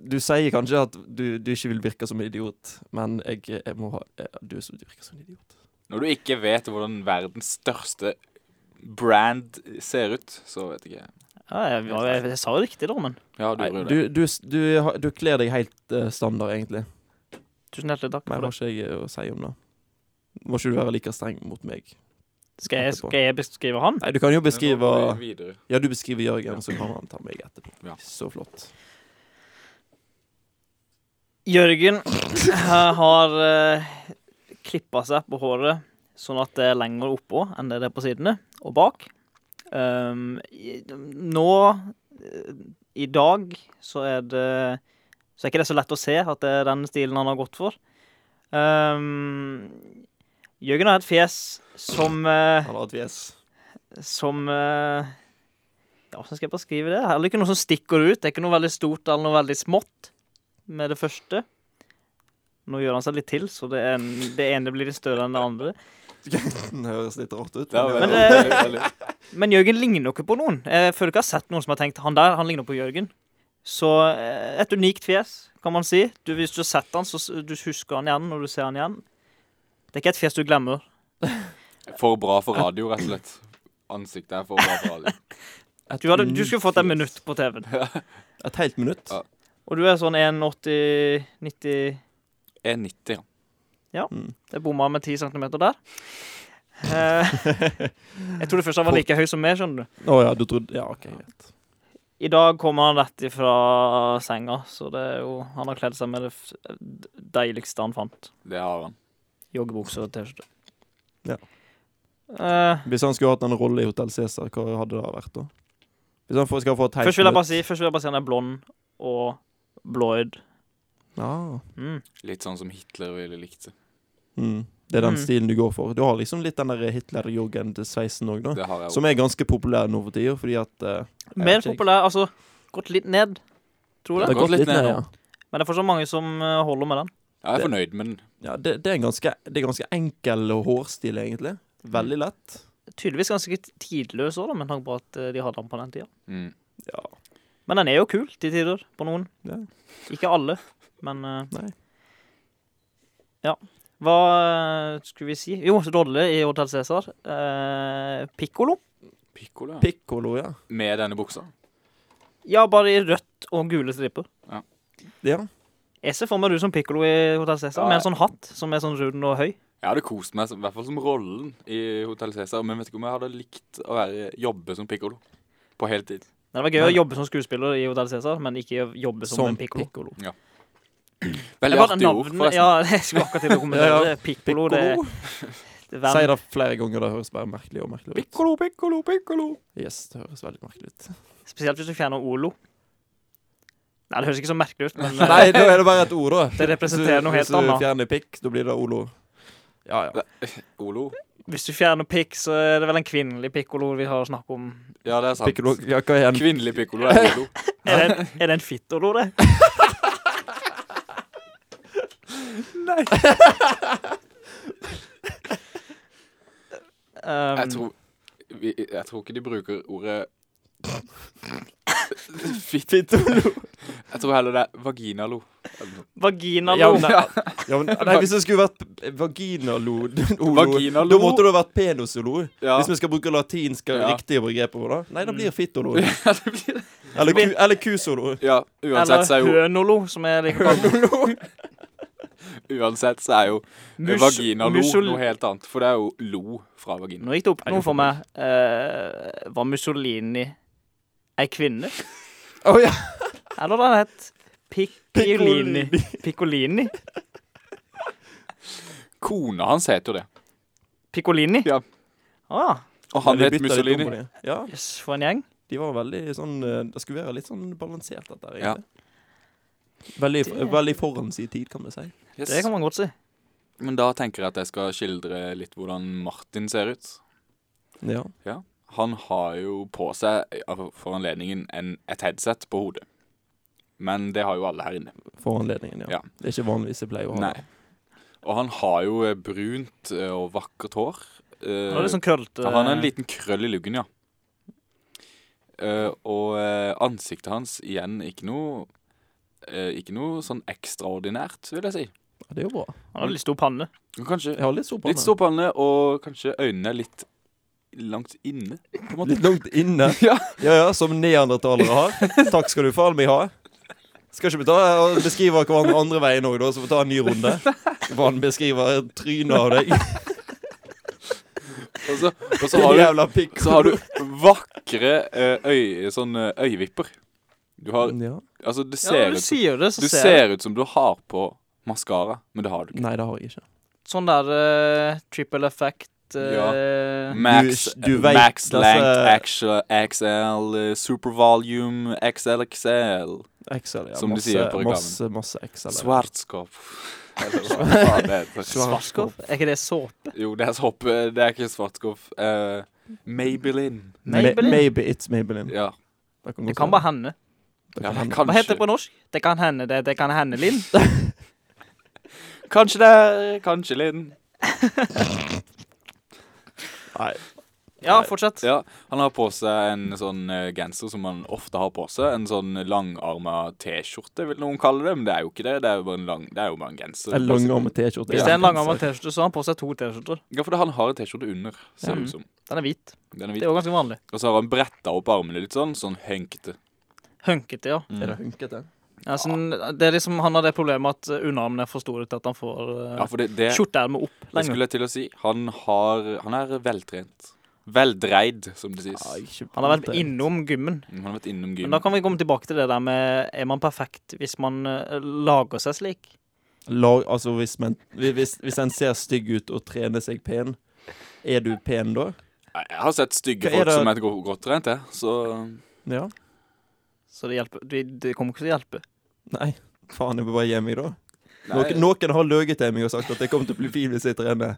Speaker 3: du sier kanskje at du, du ikke vil virke som en idiot, men jeg, jeg må ha eh, Du er så- du virker som en idiot.
Speaker 2: Når du ikke vet hvordan verdens største brand ser ut, så vet ikke jeg.
Speaker 1: ja jeg, jeg, jeg, jeg sa jo riktig, da, men
Speaker 2: Ja, du
Speaker 3: Nei,
Speaker 2: gjorde det.
Speaker 3: du, du, s- du, har- du kler deg helt eh, standard, egentlig.
Speaker 1: tusen hjertelig takk
Speaker 3: Mer
Speaker 1: for det.
Speaker 3: har ikke jeg eh, å si om det. Må ikke du være like streng mot meg.
Speaker 1: Skal jeg, skal jeg beskrive han?
Speaker 3: Nei, du kan jo
Speaker 2: Men nå
Speaker 3: beskrive
Speaker 2: går vi videre.
Speaker 3: Ja, du beskriver Jørgen, så kan han ta meg etterpå.
Speaker 2: Ja.
Speaker 3: Så flott.
Speaker 1: Jørgen eh, har uh, klippa seg på håret sånn at det er lenger oppå enn det er på sidene og bak. Um, i, nå eh, I dag så er det Så er ikke det så lett å se at det er den stilen han har gått for. Um, Jørgen har et fjes som eh,
Speaker 3: Han har et fjes.
Speaker 1: som eh, Ja, hvordan skal jeg beskrive det? Heller ikke noe som stikker ut. Det er ikke noe veldig stort eller noe veldig smått med det første. Nå gjør han seg litt til, så det, en, det ene blir litt større enn det andre.
Speaker 3: Den høres litt rart ut.
Speaker 2: Det er
Speaker 1: Men
Speaker 2: veldig,
Speaker 1: det-
Speaker 2: veldig, veldig.
Speaker 1: Men Jørgen ligner jo ikke på noen. Jeg føler ikke jeg har sett noen som har tenkt han der, han ligner på Jørgen. Så eh, et unikt fjes, kan man si. Du, hvis du har sett han, så s- du husker han igjen når du ser han igjen. Det er ikke et fjes du glemmer.
Speaker 2: For bra for radio, rett og slett. Ansiktet er for bra for radio.
Speaker 3: Et
Speaker 1: Du, hadde, du
Speaker 3: nytt
Speaker 1: skulle fått et
Speaker 3: fjes.
Speaker 1: minutt på TV-en.
Speaker 3: Et helt minutt?
Speaker 2: Ja.
Speaker 1: Og du er sånn 1,80-90
Speaker 2: E90, ja.
Speaker 1: Det bomma med 10 cm der. Eh, jeg trodde først han var like høy som meg, skjønner du.
Speaker 3: Å ja, du trodde Ja, OK, greit.
Speaker 1: I dag kommer han rett ifra senga, så det er jo Han har kledd seg med det f- deiligste han fant.
Speaker 2: Det har han.
Speaker 1: Joggebukse og T-skjorte.
Speaker 3: Ja.
Speaker 1: Eh,
Speaker 3: Hvis han skulle hatt en rolle i Hotell Cæsar, hva hadde det vært da? Hvis han får, skal få et helt
Speaker 1: Først vil jeg bare si Først vil jeg bare si han er blond og blåøyd.
Speaker 3: ah.
Speaker 1: Mm.
Speaker 2: Litt sånn som Hitler ville likt det.
Speaker 3: mm. Det er den
Speaker 1: Mm.
Speaker 3: stilen du går for. Du har liksom litt den der Hitler-Jorgen-sveisen òg, da.
Speaker 2: Det har jeg
Speaker 3: Som er ganske populær nå for tida, fordi at eh,
Speaker 1: Mer
Speaker 3: vet ikke.
Speaker 1: populær Altså, gått litt ned, tror
Speaker 2: Det
Speaker 1: jeg.
Speaker 2: har gått litt ned nå.
Speaker 1: Men det er fortsatt mange som eh, holder med den.
Speaker 2: Ja, jeg er fornøyd med den.
Speaker 3: Ja, det, det er en ganske, det er ganske enkel hårstil, egentlig. Veldig lett.
Speaker 1: Tydeligvis ganske t- tidløs òg, med tanke på at eh, de hadde den på den tida.
Speaker 2: Mm.
Speaker 3: Ja.
Speaker 1: Men den er jo kul til tider, på noen.
Speaker 3: Ja.
Speaker 1: Ikke alle, men eh,
Speaker 3: Nei.
Speaker 1: Ja. Hva eh, skulle vi si? Jo, Dodle i Hotell Cæsar. Eh, Pikkolo. Mm.
Speaker 2: Piccolo, ja.
Speaker 3: Pikkolo, ja.
Speaker 2: Med denne buksa.
Speaker 1: Ja, bare i rødt og gule striper.
Speaker 3: ja.
Speaker 1: Jeg ser for meg du som pikkolo i Hotell Cæsar,
Speaker 2: Ja,
Speaker 1: med
Speaker 2: jeg-
Speaker 1: en sånn hatt som er sånn rund og høy.
Speaker 2: Jeg hadde kost meg, som- i hvert fall som rollen i Hotell Cæsar. Men vet ikke om jeg hadde likt å være, jobbe som pikkolo på heltid.
Speaker 1: Det var gøy å
Speaker 3: Men-
Speaker 1: jobbe som skuespiller i Hotell Cæsar, men ikke jobbe som, en pikkolo.
Speaker 3: pikkolo.
Speaker 1: Det
Speaker 2: Veldig
Speaker 1: var
Speaker 2: artig ord,
Speaker 1: navnet-
Speaker 2: forresten.
Speaker 1: Ja, jeg skulle akkurat til å kommentere
Speaker 3: Ja,
Speaker 1: det. Pikkolo, det, det er
Speaker 3: Si
Speaker 1: verden.
Speaker 3: det flere ganger, det høres bare merkelig og merkelig ut.
Speaker 2: Pikkolo, pikkolo, pikkolo.
Speaker 3: Yes, det høres veldig merkelig ut.
Speaker 1: Spesielt hvis du fjerner Olo. Nei, det høres ikke så merkelig ut, men eh,
Speaker 3: Nei, da er det bare et ord, da.
Speaker 1: det representerer noe helt
Speaker 3: Hvis du
Speaker 1: annet.
Speaker 3: fjerner pikk, da blir det Olo. Ja, ja.
Speaker 2: Olo.
Speaker 1: Hvis du fjerner pikk, så er det vel en kvinnelig pikkolo vi har å snakke om.
Speaker 2: Ja, det er sant.
Speaker 3: Pikkolo, ja, hva er en
Speaker 2: Kvinnelig pikkolo er olo.
Speaker 1: Er det en, er det en fittolo, det? Nei.
Speaker 2: Jeg tror, vi, jeg tror ikke de bruker ordet Fitt.
Speaker 3: Fittolo.
Speaker 2: Jeg tror heller det er vaginalo. Eller noe.
Speaker 1: Vaginalo.
Speaker 3: Ja, men, ja, men, nei, hvis det skulle vært p- vaginalo olo,
Speaker 2: Vaginalo.
Speaker 3: Da måtte det ha vært penosolo.
Speaker 2: Ja.
Speaker 3: Hvis vi skal bruke latinske
Speaker 2: Ja.
Speaker 3: riktige begreper. på det. Nei, det blir fittolo.
Speaker 2: Ja, det blir det.
Speaker 3: Eller, ku, eller kusolo.
Speaker 2: Ja, uansett så er
Speaker 1: Eller
Speaker 2: jo
Speaker 1: hønolo, som er like bak.
Speaker 2: Uansett så er jo
Speaker 1: Mus-
Speaker 2: vaginalo
Speaker 1: musol-
Speaker 2: noe helt annet. For det er jo lo fra vagina.
Speaker 1: Nå gikk det opp noe for meg. Eh, var Mussolini ei kvinne?
Speaker 3: Å, ja.
Speaker 1: Eller det het Piccolini. Piccolini?
Speaker 2: Kona hans heter jo det.
Speaker 1: Piccolini?
Speaker 2: Ja.
Speaker 1: Å ja.
Speaker 2: Og han
Speaker 3: Men de
Speaker 2: het
Speaker 3: bytta litt om
Speaker 2: Mussolini.
Speaker 3: på det. Ja,
Speaker 1: Jøss, for en gjeng.
Speaker 3: de var veldig sånn eh, Det skulle være litt sånn balansert, dette her,
Speaker 2: Ja.
Speaker 3: egentlig. Veldig, veldig foran sin tid, kan vi si.
Speaker 2: Yes. Eh,
Speaker 1: Det kan man godt si.
Speaker 2: Men da tenker jeg at jeg skal skildre litt hvordan Martin ser ut.
Speaker 3: Ja.
Speaker 2: Han har jo på seg av- for anledningen en, et headset på hodet. Men det har jo alle her inne.
Speaker 3: For anledningen, ja.
Speaker 2: Ja.
Speaker 3: Det er ikke vanligvis jeg pleier å ha.
Speaker 2: Nei. Og han har jo eh, brunt eh, og vakkert hår. Eh,
Speaker 1: Nå er det sånn krøllete
Speaker 2: Ja, Han har en liten krøll i luggen, ja. Eh, og eh, ansiktet hans igjen ikke noe eh, Ikke noe sånn ekstraordinært, vil jeg si.
Speaker 3: Ja, Det er jo bra.
Speaker 1: Han har litt stor panne.
Speaker 2: Men Kanskje
Speaker 3: Jeg har litt sopanne.
Speaker 2: litt stor panne, og kanskje øynene litt langt inne, på en måte.
Speaker 3: Litt langt inne.
Speaker 2: Ja.
Speaker 3: ja, ja, som neandertalere har. Takk skal du faen meg ha. Skal ikke vi ta og beskrive hverandre andre veien òg, da, så får vi ta en ny runde? Hva han beskriver trynet av deg.
Speaker 2: Og så, og så,
Speaker 3: Din
Speaker 2: har,
Speaker 3: jævla pikk.
Speaker 2: du, så har du vakre eh, øy, sånne øyevipper. Du har
Speaker 3: ja.
Speaker 2: Altså, det
Speaker 1: Ja,
Speaker 2: ser,
Speaker 1: når du
Speaker 2: ut, som,
Speaker 1: sier det, så
Speaker 2: du
Speaker 1: ser jeg.
Speaker 2: ser ut som du har på maskara, men det har du ikke.
Speaker 3: Nei, det har jeg ikke.
Speaker 1: Sånn der eh, triple effect eh,
Speaker 2: Max,
Speaker 3: Du- du vet
Speaker 2: max
Speaker 1: altså-
Speaker 3: disse-
Speaker 2: length, XL, XL eh, super volume, XLXL.
Speaker 3: Excel, ja.
Speaker 2: Som de
Speaker 3: masse,
Speaker 2: sier på reklamen.
Speaker 3: Masse, masse Excel. ja.
Speaker 2: Svartskap. Eller hva faen det heter.
Speaker 1: Svartskap? Er ikke det såpe?
Speaker 2: Jo, det er såpe. Det er ikke svartskap. Eh, Maybelline.
Speaker 3: Ma-
Speaker 1: Maybelline?
Speaker 3: Maybe it's Maybelline.
Speaker 2: Ja.
Speaker 3: kan
Speaker 1: Det
Speaker 3: godt
Speaker 1: kan
Speaker 3: være.
Speaker 1: bare hende.
Speaker 3: Det
Speaker 2: ja
Speaker 3: kan hende.
Speaker 1: Hva heter det
Speaker 2: kanskje.
Speaker 1: på norsk? Det kan hende det, det kan hende Linn.
Speaker 2: Kanskje det er Kanskje Linn.
Speaker 3: Nei.
Speaker 1: Ja, fortsett.
Speaker 2: Ja, han har på seg en sånn eh, genser som man ofte har på seg. En sånn langarma T-skjorte, vil noen kalle det. Men det er jo ikke det. Det er jo bare en, lang, det er jo bare en genser.
Speaker 3: En langarmet T-skjorte.
Speaker 1: Hvis det er en langarmet T-skjorte, så har han på seg to T-skjorter.
Speaker 2: Ja, for det, han har en T-skjorte under, ser
Speaker 1: Ja.
Speaker 2: det ut som.
Speaker 1: Den er hvit.
Speaker 2: Den er
Speaker 1: Det
Speaker 2: hvit.
Speaker 1: er jo ganske vanlig.
Speaker 2: Og så har han bretta opp armene litt sånn, sånn hønkete.
Speaker 1: Hønkete, ja.
Speaker 3: Er det hunkete?
Speaker 1: ja sånn, det er liksom, han har det problemet at eh, underarmene er for store til at han får eh,
Speaker 2: Ja, for det, det,
Speaker 1: skjorteermet opp
Speaker 2: det
Speaker 1: lenger.
Speaker 2: skulle jeg til å si. Han, har, han er veltrent. Veldreid, som det sies.
Speaker 1: Han har vært innom gymmen.
Speaker 2: Han har vært innom
Speaker 1: Men da
Speaker 2: gym.
Speaker 1: kan vi komme tilbake til det der med Er man perfekt hvis man eh, lager seg slik?
Speaker 3: Lag, altså hvis, men, hvi- hvis, hvis en ser stygg ut og trener seg pen, er du pen da?
Speaker 2: Jeg har sett stygge
Speaker 3: Hva er
Speaker 2: folk
Speaker 3: det-
Speaker 2: som er go- godt trent, jeg. Så
Speaker 3: Ja.
Speaker 1: Så det hjelper. Det, det kommer ikke til å hjelpe.
Speaker 3: Nei. Faen, jeg må bare gi meg, da.
Speaker 2: Nei,
Speaker 3: Noen, noen har løyet til meg og sagt at jeg kommer til å bli fin hvis jeg trener.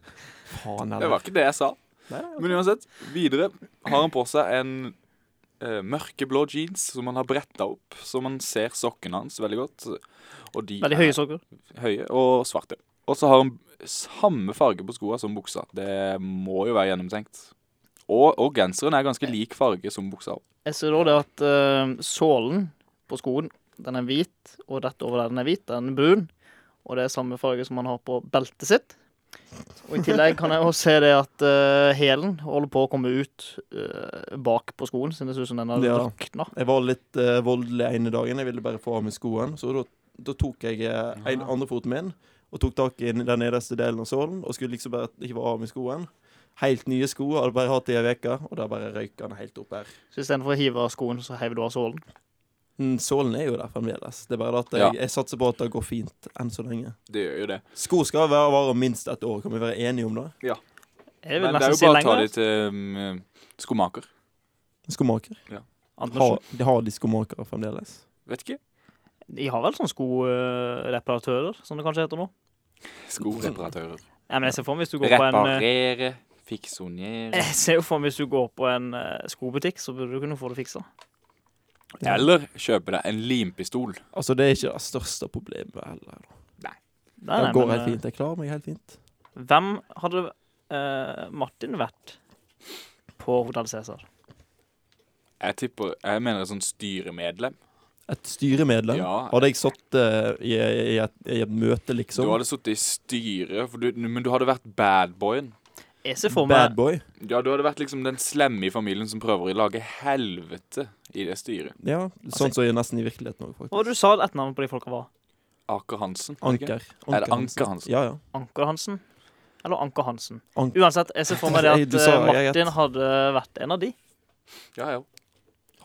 Speaker 3: Faen
Speaker 2: det
Speaker 3: heller.
Speaker 2: var ikke det jeg sa.
Speaker 3: Nei, nei,
Speaker 2: Men uansett, videre har han på seg en eh, mørkeblå jeans som han har bretta opp, så man ser sokkene hans veldig godt. Og de
Speaker 1: Veldig
Speaker 2: er
Speaker 1: høye sokker.
Speaker 2: høye og svarte. Og så har han samme farge på skoene som buksa. Det må jo være gjennomtenkt. Og, og genseren er ganske lik farge som buksa.
Speaker 1: Jeg ser da det at eh, sålen på skoen, den er hvit, og rett over der den er hvit, den er brun. Og det er samme farge som han har på beltet sitt. Og i tillegg kan jeg også se det at eh, hælen holder på å komme ut eh, bak på skoen, siden det ser ut som den har
Speaker 3: Ja.
Speaker 1: rakna.
Speaker 3: Jeg var litt eh, voldelig ene dagen. Jeg ville bare få av meg skoen. Så da, da tok jeg eh, en, andre foten min og tok tak i den nederste delen av sålen og skulle liksom bare hive av meg skoen. Helt nye sko. Hadde bare hatt det i ei uke, og der bare røyk han helt opp her.
Speaker 1: Så istedenfor å hive av skoen, så heiver du av sålen.
Speaker 3: Mm, Sålen er jo der fremdeles. Det er bare at jeg,
Speaker 2: Ja.
Speaker 3: jeg satser på at det går fint enn så lenge.
Speaker 2: Det gjør jo det.
Speaker 3: Sko skal være vare minst ett år. Kan vi være enige om det?
Speaker 1: Jeg vil
Speaker 2: Men det er
Speaker 1: nesten
Speaker 2: jo
Speaker 1: si
Speaker 2: bare å ta
Speaker 1: lenger.
Speaker 2: de til um, skomaker.
Speaker 3: Skomaker.
Speaker 1: Andersen.
Speaker 3: Har, de har de skomakere fremdeles?
Speaker 2: Vet ikke.
Speaker 1: De har vel sånne skoreparatører, som det kanskje heter nå.
Speaker 2: Skoreparatører.
Speaker 1: Ja, men jeg ser for meg hvis du går på en eh,
Speaker 2: Reparere, fiksonere
Speaker 1: Jeg ser jo for meg hvis du går på en eh, skobutikk, så burde du kunne få det fiksa.
Speaker 2: Eller kjøpe deg en limpistol.
Speaker 3: Altså, det er ikke det største problemet heller.
Speaker 1: Nei, nei,
Speaker 3: det går
Speaker 1: men,
Speaker 3: helt
Speaker 1: eh,
Speaker 3: fint. Jeg klarer meg helt fint.
Speaker 1: Hvem hadde eh, Martin vært på Hotell Cæsar?
Speaker 2: Jeg tipper Jeg mener et sånt styremedlem.
Speaker 3: Et styremedlem?
Speaker 2: Ja.
Speaker 3: Hadde jeg satt eh, i, i, et, i et møte,
Speaker 2: Du
Speaker 3: liksom?
Speaker 2: hadde sittet i styret, for du, men du hadde vært badboyen.
Speaker 1: Jeg ser for
Speaker 3: Bad
Speaker 1: meg
Speaker 3: boy?
Speaker 2: Ja, du hadde vært liksom den slemme i familien som prøver å lage helvete i det styret.
Speaker 3: Ja,
Speaker 2: Altså,
Speaker 3: sånn som jeg nesten i virkeligheten òg, faktisk.
Speaker 1: Og du sa et etternavn på de folka var.
Speaker 2: Aker Hansen. var det ikke?
Speaker 3: Anker.
Speaker 2: Er det
Speaker 3: Hansen.
Speaker 2: Anker Hansen?
Speaker 3: Ja, ja.
Speaker 1: Anker Hansen? Eller Anker Hansen.
Speaker 3: Anker.
Speaker 1: Uansett, jeg ser for meg det
Speaker 3: Nei,
Speaker 1: at
Speaker 3: du sa-
Speaker 1: eh,
Speaker 3: jeg
Speaker 1: Martin hadde vært en av de.
Speaker 2: Ja, ja.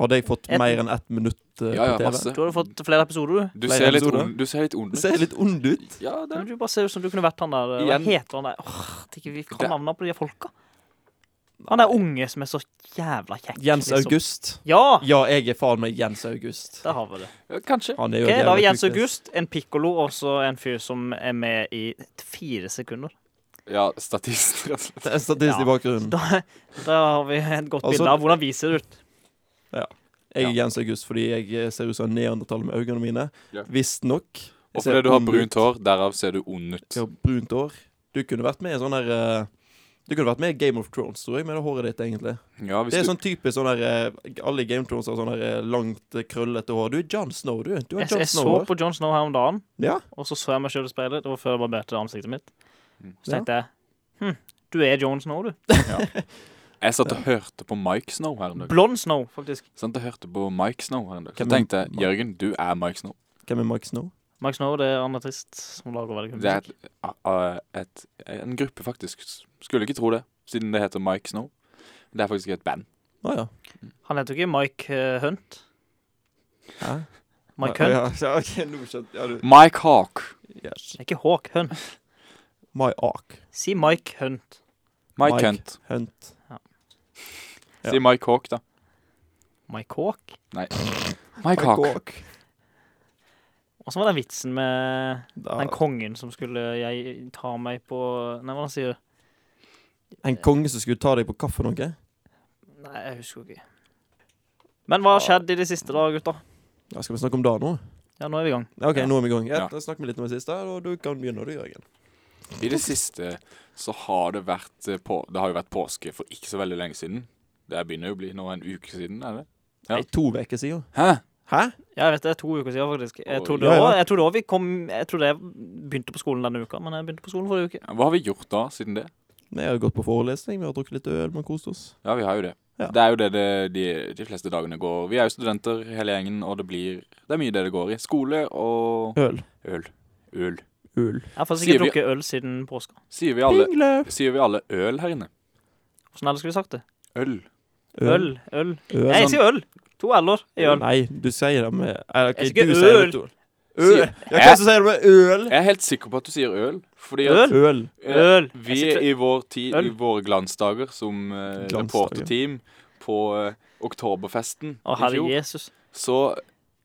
Speaker 3: Hadde jeg fått
Speaker 1: Et-
Speaker 3: mer enn ett minutt eh,
Speaker 2: ja, ja
Speaker 3: på TV?
Speaker 2: masse.
Speaker 1: Du hadde fått flere episoder, du.
Speaker 2: Du
Speaker 3: Flere
Speaker 2: ser litt
Speaker 3: episoder.
Speaker 2: ond, du ser litt ond
Speaker 3: Du
Speaker 2: ut.
Speaker 3: ser litt ond ut.
Speaker 2: Ja, det
Speaker 1: Men du bare ser ut som du kunne vært han der eh, Hva
Speaker 2: Igjen.
Speaker 1: heter han der? Åh, tenker vi
Speaker 2: Det-
Speaker 1: kan navnet på de folka. Han der unge som er så jævla kjekk.
Speaker 3: Jens
Speaker 1: liksom.
Speaker 3: August.
Speaker 1: Ja!
Speaker 3: Ja, jeg er faen meg Jens August.
Speaker 1: Der har vi det.
Speaker 2: ja, Kanskje.
Speaker 3: Han er jo
Speaker 1: Ok,
Speaker 3: en
Speaker 1: Da har vi
Speaker 3: jævla
Speaker 1: Jens
Speaker 3: tjukk, ass.
Speaker 1: August, en pikkolo og så en fyr som er med i fire sekunder.
Speaker 2: Ja, statist, rett og slett.
Speaker 3: Det er statist
Speaker 1: Ja.
Speaker 3: i bakgrunnen.
Speaker 1: Da, da har vi et godt
Speaker 3: Altså-
Speaker 1: bilde av hvordan vi ser ut.
Speaker 3: Jeg er Jens August fordi jeg ser ut som en neandertaler med øynene mine.
Speaker 2: Ja.
Speaker 3: Visstnok. Jeg
Speaker 2: Og
Speaker 3: ser
Speaker 2: fordi du har
Speaker 3: ond
Speaker 2: brunt
Speaker 3: ut.
Speaker 2: hår, derav ser du ond ut.
Speaker 3: Ja, brunt hår. Du kunne vært med i sånn her eh, Du kunne vært med i Game of Thrones, tror jeg, med det håret ditt, egentlig.
Speaker 2: Ja, hvis
Speaker 3: Det er
Speaker 2: du
Speaker 3: sånn typisk sånn her eh, Alle i Game of Thrones har sånn her eh, langt, eh, krøllete hår. Du er John Snow, du. Du har
Speaker 1: Jeg,
Speaker 3: John
Speaker 1: jeg så
Speaker 3: Snow-hår.
Speaker 1: på John Snow her om dagen,
Speaker 3: Ja.
Speaker 1: og så så jeg meg selv i speilet. Det var før jeg barberte ansiktet mitt.
Speaker 2: Mm.
Speaker 1: Så tenkte jeg hm, du er John Snow, du.
Speaker 3: sånn-
Speaker 2: Jeg satt og hørte på Mike Snow her en dag.
Speaker 1: Blond Snow, faktisk.
Speaker 2: Satt og hørte på Mike Snow her en dag. Så
Speaker 3: Hvem er-
Speaker 2: tenkte jeg, Jørgen, du er Mike Snow.
Speaker 3: Hvem er Mike Snow?
Speaker 1: Mike Snow det er en artist som lager veldig kul
Speaker 2: Det er
Speaker 1: musikk.
Speaker 2: et, a- a- et, en gruppe, faktisk. Skulle ikke tro det, siden det heter Mike Snow. Det er faktisk et band.
Speaker 3: Å ja.
Speaker 1: Han heter jo ikke Mike eh, Hunt.
Speaker 3: Hæ?
Speaker 1: Mike
Speaker 3: Å,
Speaker 1: Hunt.
Speaker 3: Ja, ja, ok, nå skjønte ja, du.
Speaker 2: Mike Hawk.
Speaker 3: Yes.
Speaker 1: Det er ikke Hawk Hunt.
Speaker 3: My Ark.
Speaker 1: Si Mike Hunt.
Speaker 2: Mike,
Speaker 3: Mike.
Speaker 2: Hunt.
Speaker 3: Hunt. Ja.
Speaker 2: Si Mike Hawk, da.
Speaker 1: Mike Hawk.
Speaker 2: Nei. Mike Hawk.
Speaker 3: Hawk.
Speaker 1: Og så var det vitsen med
Speaker 3: Da-
Speaker 1: Den kongen som skulle jeg ta meg på Nei, hva han sier
Speaker 3: En konge som skulle ta deg på kaffe noe?
Speaker 1: Nei, jeg husker jo ikke. Men hva har skjedd i det siste, da, gutta?
Speaker 3: Ja, skal vi snakke om det nå?
Speaker 1: Ja, nå er vi i gang.
Speaker 3: Ja, OK,
Speaker 2: Ja.
Speaker 3: nå er vi i gang. Ja,
Speaker 2: Ja.
Speaker 3: da Snakk med litt om det siste, og du kan begynne, du, Jørgen.
Speaker 2: I det siste så har det vært eh, på, Det har jo vært påske for ikke så veldig lenge siden. Det begynner jo å bli nå en uke siden, er det? Ja.
Speaker 3: Nei, to uker siden.
Speaker 2: Hæ?
Speaker 3: Hæ?
Speaker 1: Ja, jeg vet det er to uker siden, faktisk. Jeg
Speaker 2: Oi.
Speaker 1: trodde
Speaker 3: Ja, ja.
Speaker 1: også- jeg trodde også vi kom Jeg trodde jeg begynte på skolen denne uka, men jeg begynte på skolen forrige uke.
Speaker 2: Hva har vi gjort da, siden det?
Speaker 3: Vi har gått på forelesning, vi har drukket litt øl, vi har kost oss.
Speaker 2: Ja, vi har jo det.
Speaker 3: Ja.
Speaker 2: Det er jo det, det de, de fleste dagene går. Vi er jo studenter hele gjengen, og det blir Det er mye det det går i. Skole og
Speaker 3: Øl.
Speaker 2: øl. Øl.
Speaker 3: Øl.
Speaker 1: Jeg har faktisk
Speaker 2: Sier
Speaker 1: ikke
Speaker 2: vi-
Speaker 1: drukket øl siden påska.
Speaker 2: Sier vi alle,
Speaker 3: Pingle!
Speaker 2: sier vi alle øl her inne?
Speaker 1: Hvordan ellers skulle vi sagt det?
Speaker 2: Øl.
Speaker 1: Øl. Øl.
Speaker 3: øl.
Speaker 1: Nei, jeg sier øl. To l-er i øl.
Speaker 3: sånn- Nei, du sier det med Nei, ok,
Speaker 1: Jeg sier
Speaker 3: du
Speaker 1: ikke
Speaker 3: sier
Speaker 1: øl.
Speaker 3: det to. Øl.
Speaker 2: Sier-
Speaker 3: Ja, hva som sier du med øl?
Speaker 2: Jeg er helt sikker på at du sier øl. Fordi at
Speaker 1: Øl.
Speaker 3: Øl.
Speaker 2: eh,
Speaker 1: Øl. Jeg
Speaker 2: Vi
Speaker 1: sier-
Speaker 2: i vår tid,
Speaker 1: Øl.
Speaker 2: i våre glansdager som eh,
Speaker 3: Glansdager.
Speaker 2: reporterteam, på eh, oktoberfesten
Speaker 1: Å,
Speaker 2: i
Speaker 1: herre
Speaker 2: fjor,
Speaker 1: Jesus.
Speaker 2: så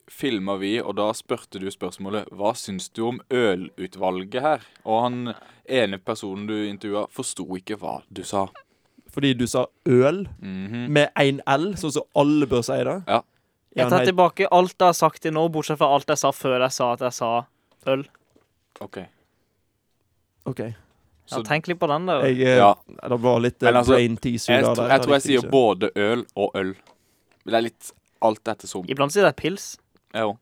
Speaker 2: filma vi, og da spurte du spørsmålet Hva syns du om ølutvalget her? Og han ene personen du intervjua, forsto ikke hva du sa.
Speaker 3: Fordi du sa øl
Speaker 2: Mhm.
Speaker 3: med én L, sånn som alle bør si det.
Speaker 2: Ja.
Speaker 3: Er
Speaker 1: Jeg
Speaker 3: han
Speaker 1: tar
Speaker 3: helt-
Speaker 1: tilbake alt jeg har sagt til nå, bortsett fra alt jeg sa før jeg sa at jeg sa øl.
Speaker 2: OK.
Speaker 3: OK.
Speaker 1: Ja,
Speaker 2: Så-
Speaker 1: tenk litt på den, da.
Speaker 3: Jeg, eh,
Speaker 2: Ja.
Speaker 3: Det var litt eh,
Speaker 2: Men altså,
Speaker 3: brain teaser.
Speaker 2: Jeg,
Speaker 3: der,
Speaker 2: tro,
Speaker 3: det
Speaker 2: jeg tror jeg
Speaker 3: likte
Speaker 2: sier
Speaker 3: ikke.
Speaker 2: både øl og øl. Det er litt alt etter som.
Speaker 1: Iblant sier jeg pils.
Speaker 2: Jeg òg.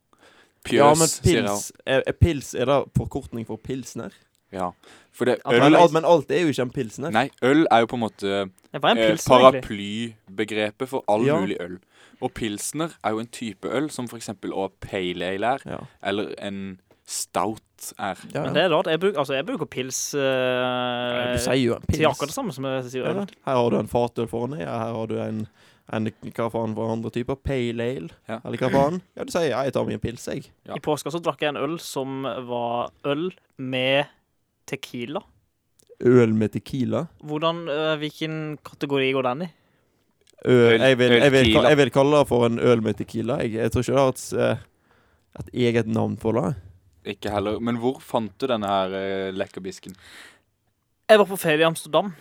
Speaker 2: Pjøs,
Speaker 3: Ja, men
Speaker 2: sier jeg òg.
Speaker 3: pils er, er pils Er det forkortning for pilsner?
Speaker 2: Ja. For det,
Speaker 1: At
Speaker 2: øl,
Speaker 3: Men, alt- men alt er jo ikke en pilsner.
Speaker 2: nei, øl er jo på en måte
Speaker 1: Det var en
Speaker 2: eh,
Speaker 1: pils, egentlig.
Speaker 2: paraplybegrepet for all
Speaker 3: Ja.
Speaker 2: mulig øl. Og pilsner er jo en type øl som f.eks. å pale ale er,
Speaker 3: Ja.
Speaker 2: eller en stout er.
Speaker 3: Ja,
Speaker 1: Men
Speaker 3: ja.
Speaker 1: det er rart. Jeg, bruk, altså, jeg bruker pils
Speaker 3: Du
Speaker 1: uh,
Speaker 3: sier jo en
Speaker 1: til akkurat det
Speaker 3: pils.
Speaker 1: samme som jeg sier
Speaker 3: Ja,
Speaker 1: øl.
Speaker 3: da. her har du en fatøl foran deg, ja, her har du en, en Hva faen for andre typer? Pale ale?
Speaker 2: Ja.
Speaker 3: Eller hva faen? Ja, du sier ja, 'jeg tar meg en pils', jeg.
Speaker 2: Ja.
Speaker 1: I påska så drakk jeg en øl som var øl med tequila.
Speaker 3: Øl med tequila?
Speaker 1: Hvordan, eh, Hvilken kategori går den i?
Speaker 3: Øl,
Speaker 2: Øl-
Speaker 3: jeg, vil, jeg, vil,
Speaker 2: øltequila.
Speaker 3: jeg vil kalle det for en øl med tequila. Jeg, jeg tror ikke det har et, eh, et eget navn for det.
Speaker 2: Ikke heller. Men hvor fant du denne her eh, lekkerbisken?
Speaker 1: Jeg var på ferie i Amsterdam,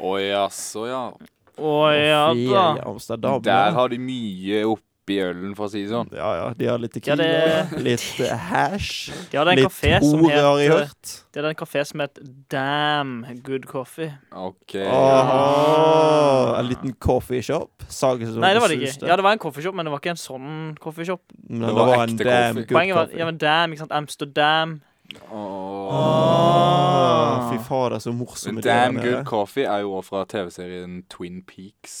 Speaker 2: Å jaså, ja.
Speaker 1: og ja da
Speaker 3: Ferie i eh, Amsterdam.
Speaker 2: Der
Speaker 3: ja.
Speaker 2: har de mye oppi ølen, for å si det sånn.
Speaker 3: Ja, ja. De har litt
Speaker 1: Ja,
Speaker 3: tequila,
Speaker 1: det-
Speaker 3: litt eh, hash,
Speaker 1: De hadde en
Speaker 3: litt
Speaker 1: kafé som
Speaker 3: hore, har jeg
Speaker 1: het
Speaker 3: hørt.
Speaker 1: De hadde en kafé som het Damn Good Coffee.
Speaker 2: OK.
Speaker 1: Ah.
Speaker 3: Aha. En liten coffee shop. Sager som
Speaker 1: Nei, det var det
Speaker 3: suste.
Speaker 1: ikke. Ja, det var en coffeeshop, men det var ikke en sånn coffeeshop.
Speaker 3: Men
Speaker 2: Det
Speaker 3: det
Speaker 2: var
Speaker 3: var en
Speaker 2: ekte
Speaker 3: damn
Speaker 2: coffee.
Speaker 3: good
Speaker 1: Poenget var
Speaker 3: coffee.
Speaker 1: ja, men damn, ikke sant? Amsterdam.
Speaker 3: Ah, Fy fader, så
Speaker 2: Men
Speaker 3: morsomme de
Speaker 2: Damn
Speaker 3: der
Speaker 2: Good
Speaker 3: nede.
Speaker 2: Coffee er jo også fra TV-serien Twin Peaks.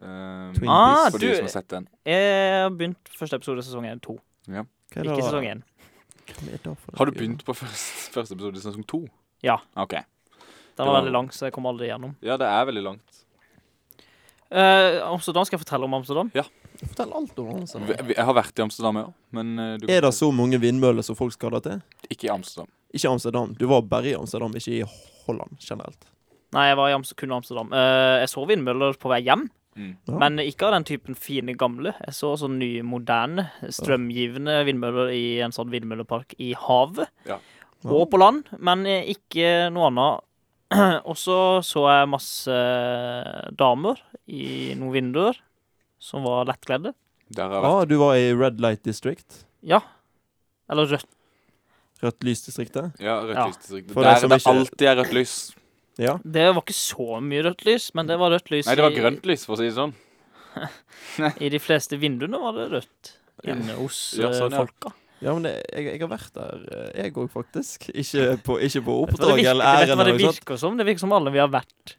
Speaker 2: Um,
Speaker 3: Twin
Speaker 1: Ah,
Speaker 2: for
Speaker 1: du-
Speaker 2: de som har sett den.
Speaker 1: Jeg har begynt første episode av sesong 1 2.
Speaker 3: Hva er det
Speaker 1: Ikke
Speaker 3: da?
Speaker 1: sesong 1.
Speaker 3: Hvem er det for
Speaker 2: Har du
Speaker 3: noe?
Speaker 2: begynt på første, første episode i sesong to?
Speaker 1: Ja.
Speaker 2: Ok.
Speaker 1: Den var
Speaker 2: var-
Speaker 1: veldig lang, så jeg kom aldri gjennom.
Speaker 2: Ja, det er veldig langt.
Speaker 1: Eh, Amsterdam, skal jeg fortelle om Amsterdam?
Speaker 3: Fortell alt om det.
Speaker 2: Vi-
Speaker 3: altså.
Speaker 2: vi- Jeg har vært i Amsterdam, jeg òg. Men eh, du
Speaker 3: Er det så mange vindmøller som folk skal da til?
Speaker 2: ikke i Amsterdam.
Speaker 3: Ikke Amsterdam. Du var bare i Amsterdam, ikke i Holland generelt.
Speaker 1: Nei, jeg var i Amst kun i Amsterdam. Eh, jeg så vindmøller på vei hjem,
Speaker 2: Mm.
Speaker 3: Ja.
Speaker 1: men ikke av den typen fine gamle. Jeg så sånn nye, moderne, strømgivende vindmøller i en sånn vindmøllepark i havet.
Speaker 2: Ja.
Speaker 1: Og på land, men eh, ikke noe annet. Og så så jeg masse damer i noen vinduer som var lettkledde.
Speaker 2: Der har jeg vært.
Speaker 3: Ah, du var i Red Light District.
Speaker 1: Ja. Eller rødt.
Speaker 3: Rødt lys-distriktet.
Speaker 2: Ja, rødt
Speaker 1: Ja.
Speaker 2: lysdistrikt.
Speaker 3: For
Speaker 2: Der
Speaker 3: de som
Speaker 2: det
Speaker 3: ikke-
Speaker 2: alltid er rødt lys.
Speaker 3: Ja.
Speaker 1: Det var ikke så mye rødt lys, men det var rødt lys
Speaker 2: Nei, det var
Speaker 1: i-
Speaker 2: grønt lys, for å si det sånn.
Speaker 1: I de fleste vinduene var det rødt inne hos
Speaker 2: Ja, sånn,
Speaker 1: eh,
Speaker 2: ja.
Speaker 1: folka.
Speaker 3: Ja, men det, jeg, jeg har vært der, eh, jeg òg, faktisk. Ikke på,
Speaker 1: Vet
Speaker 3: ikke på
Speaker 1: du hva
Speaker 3: oppdrag
Speaker 1: det virker,
Speaker 3: eller
Speaker 1: vet du
Speaker 3: æren.
Speaker 1: hva det
Speaker 3: eller noe sånt.
Speaker 1: virker som? Det virker som alle vi har vært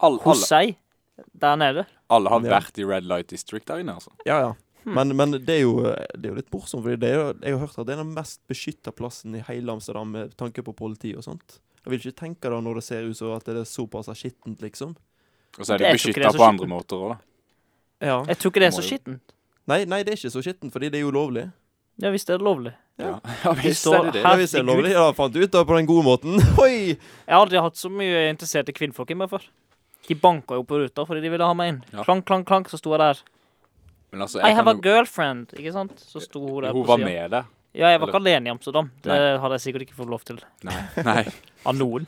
Speaker 2: Alle,
Speaker 1: hos
Speaker 2: alle,
Speaker 1: seg der nede.
Speaker 2: alle har
Speaker 3: Ja.
Speaker 2: vært i Red Light District der inne, altså.
Speaker 3: Ja, ja.
Speaker 1: Hmm.
Speaker 3: Men, men det, er jo, det er jo litt morsomt, for jeg har hørt at det er den mest beskytta plassen i hele Amsterdam med tanke på politi og sånt. Jeg vil ikke tenke da når det ser ut som at det er såpass skittent, liksom.
Speaker 2: Og så
Speaker 1: Det-
Speaker 2: er de
Speaker 1: jeg tror ikke det er
Speaker 2: beskytta
Speaker 1: så
Speaker 2: på andre måter òg, da.
Speaker 3: Ja.
Speaker 1: Jeg tror ikke det er så
Speaker 2: Må jo.
Speaker 1: skittent.
Speaker 3: Nei, nei, det er ikke så skittent, fordi det er jo lovlig.
Speaker 1: Ja visst er det lovlig.
Speaker 2: Ja, ja visst
Speaker 1: står
Speaker 2: er det det.
Speaker 1: her-
Speaker 3: Ja, hvis det er lovlig, ja, fant du ut da på den gode måten. Oi!
Speaker 1: Jeg har aldri hatt så mye interesserte kvinnfolk i meg før. De banka jo på ruta fordi de ville ha meg inn.
Speaker 2: Ja.
Speaker 1: Klank, klank, klank, så sto jeg der.
Speaker 2: Men altså,
Speaker 1: I
Speaker 2: jeg
Speaker 1: have a
Speaker 2: kan jo
Speaker 1: girlfriend, ikke sant? Så sto hun der
Speaker 2: Hun
Speaker 1: på
Speaker 2: var
Speaker 1: sida.
Speaker 2: med der.
Speaker 1: Ja, jeg var ikke alene i Amsterdam. Det
Speaker 2: Nei.
Speaker 1: hadde jeg sikkert ikke fått lov til
Speaker 2: Nei. Nei.
Speaker 1: av noen.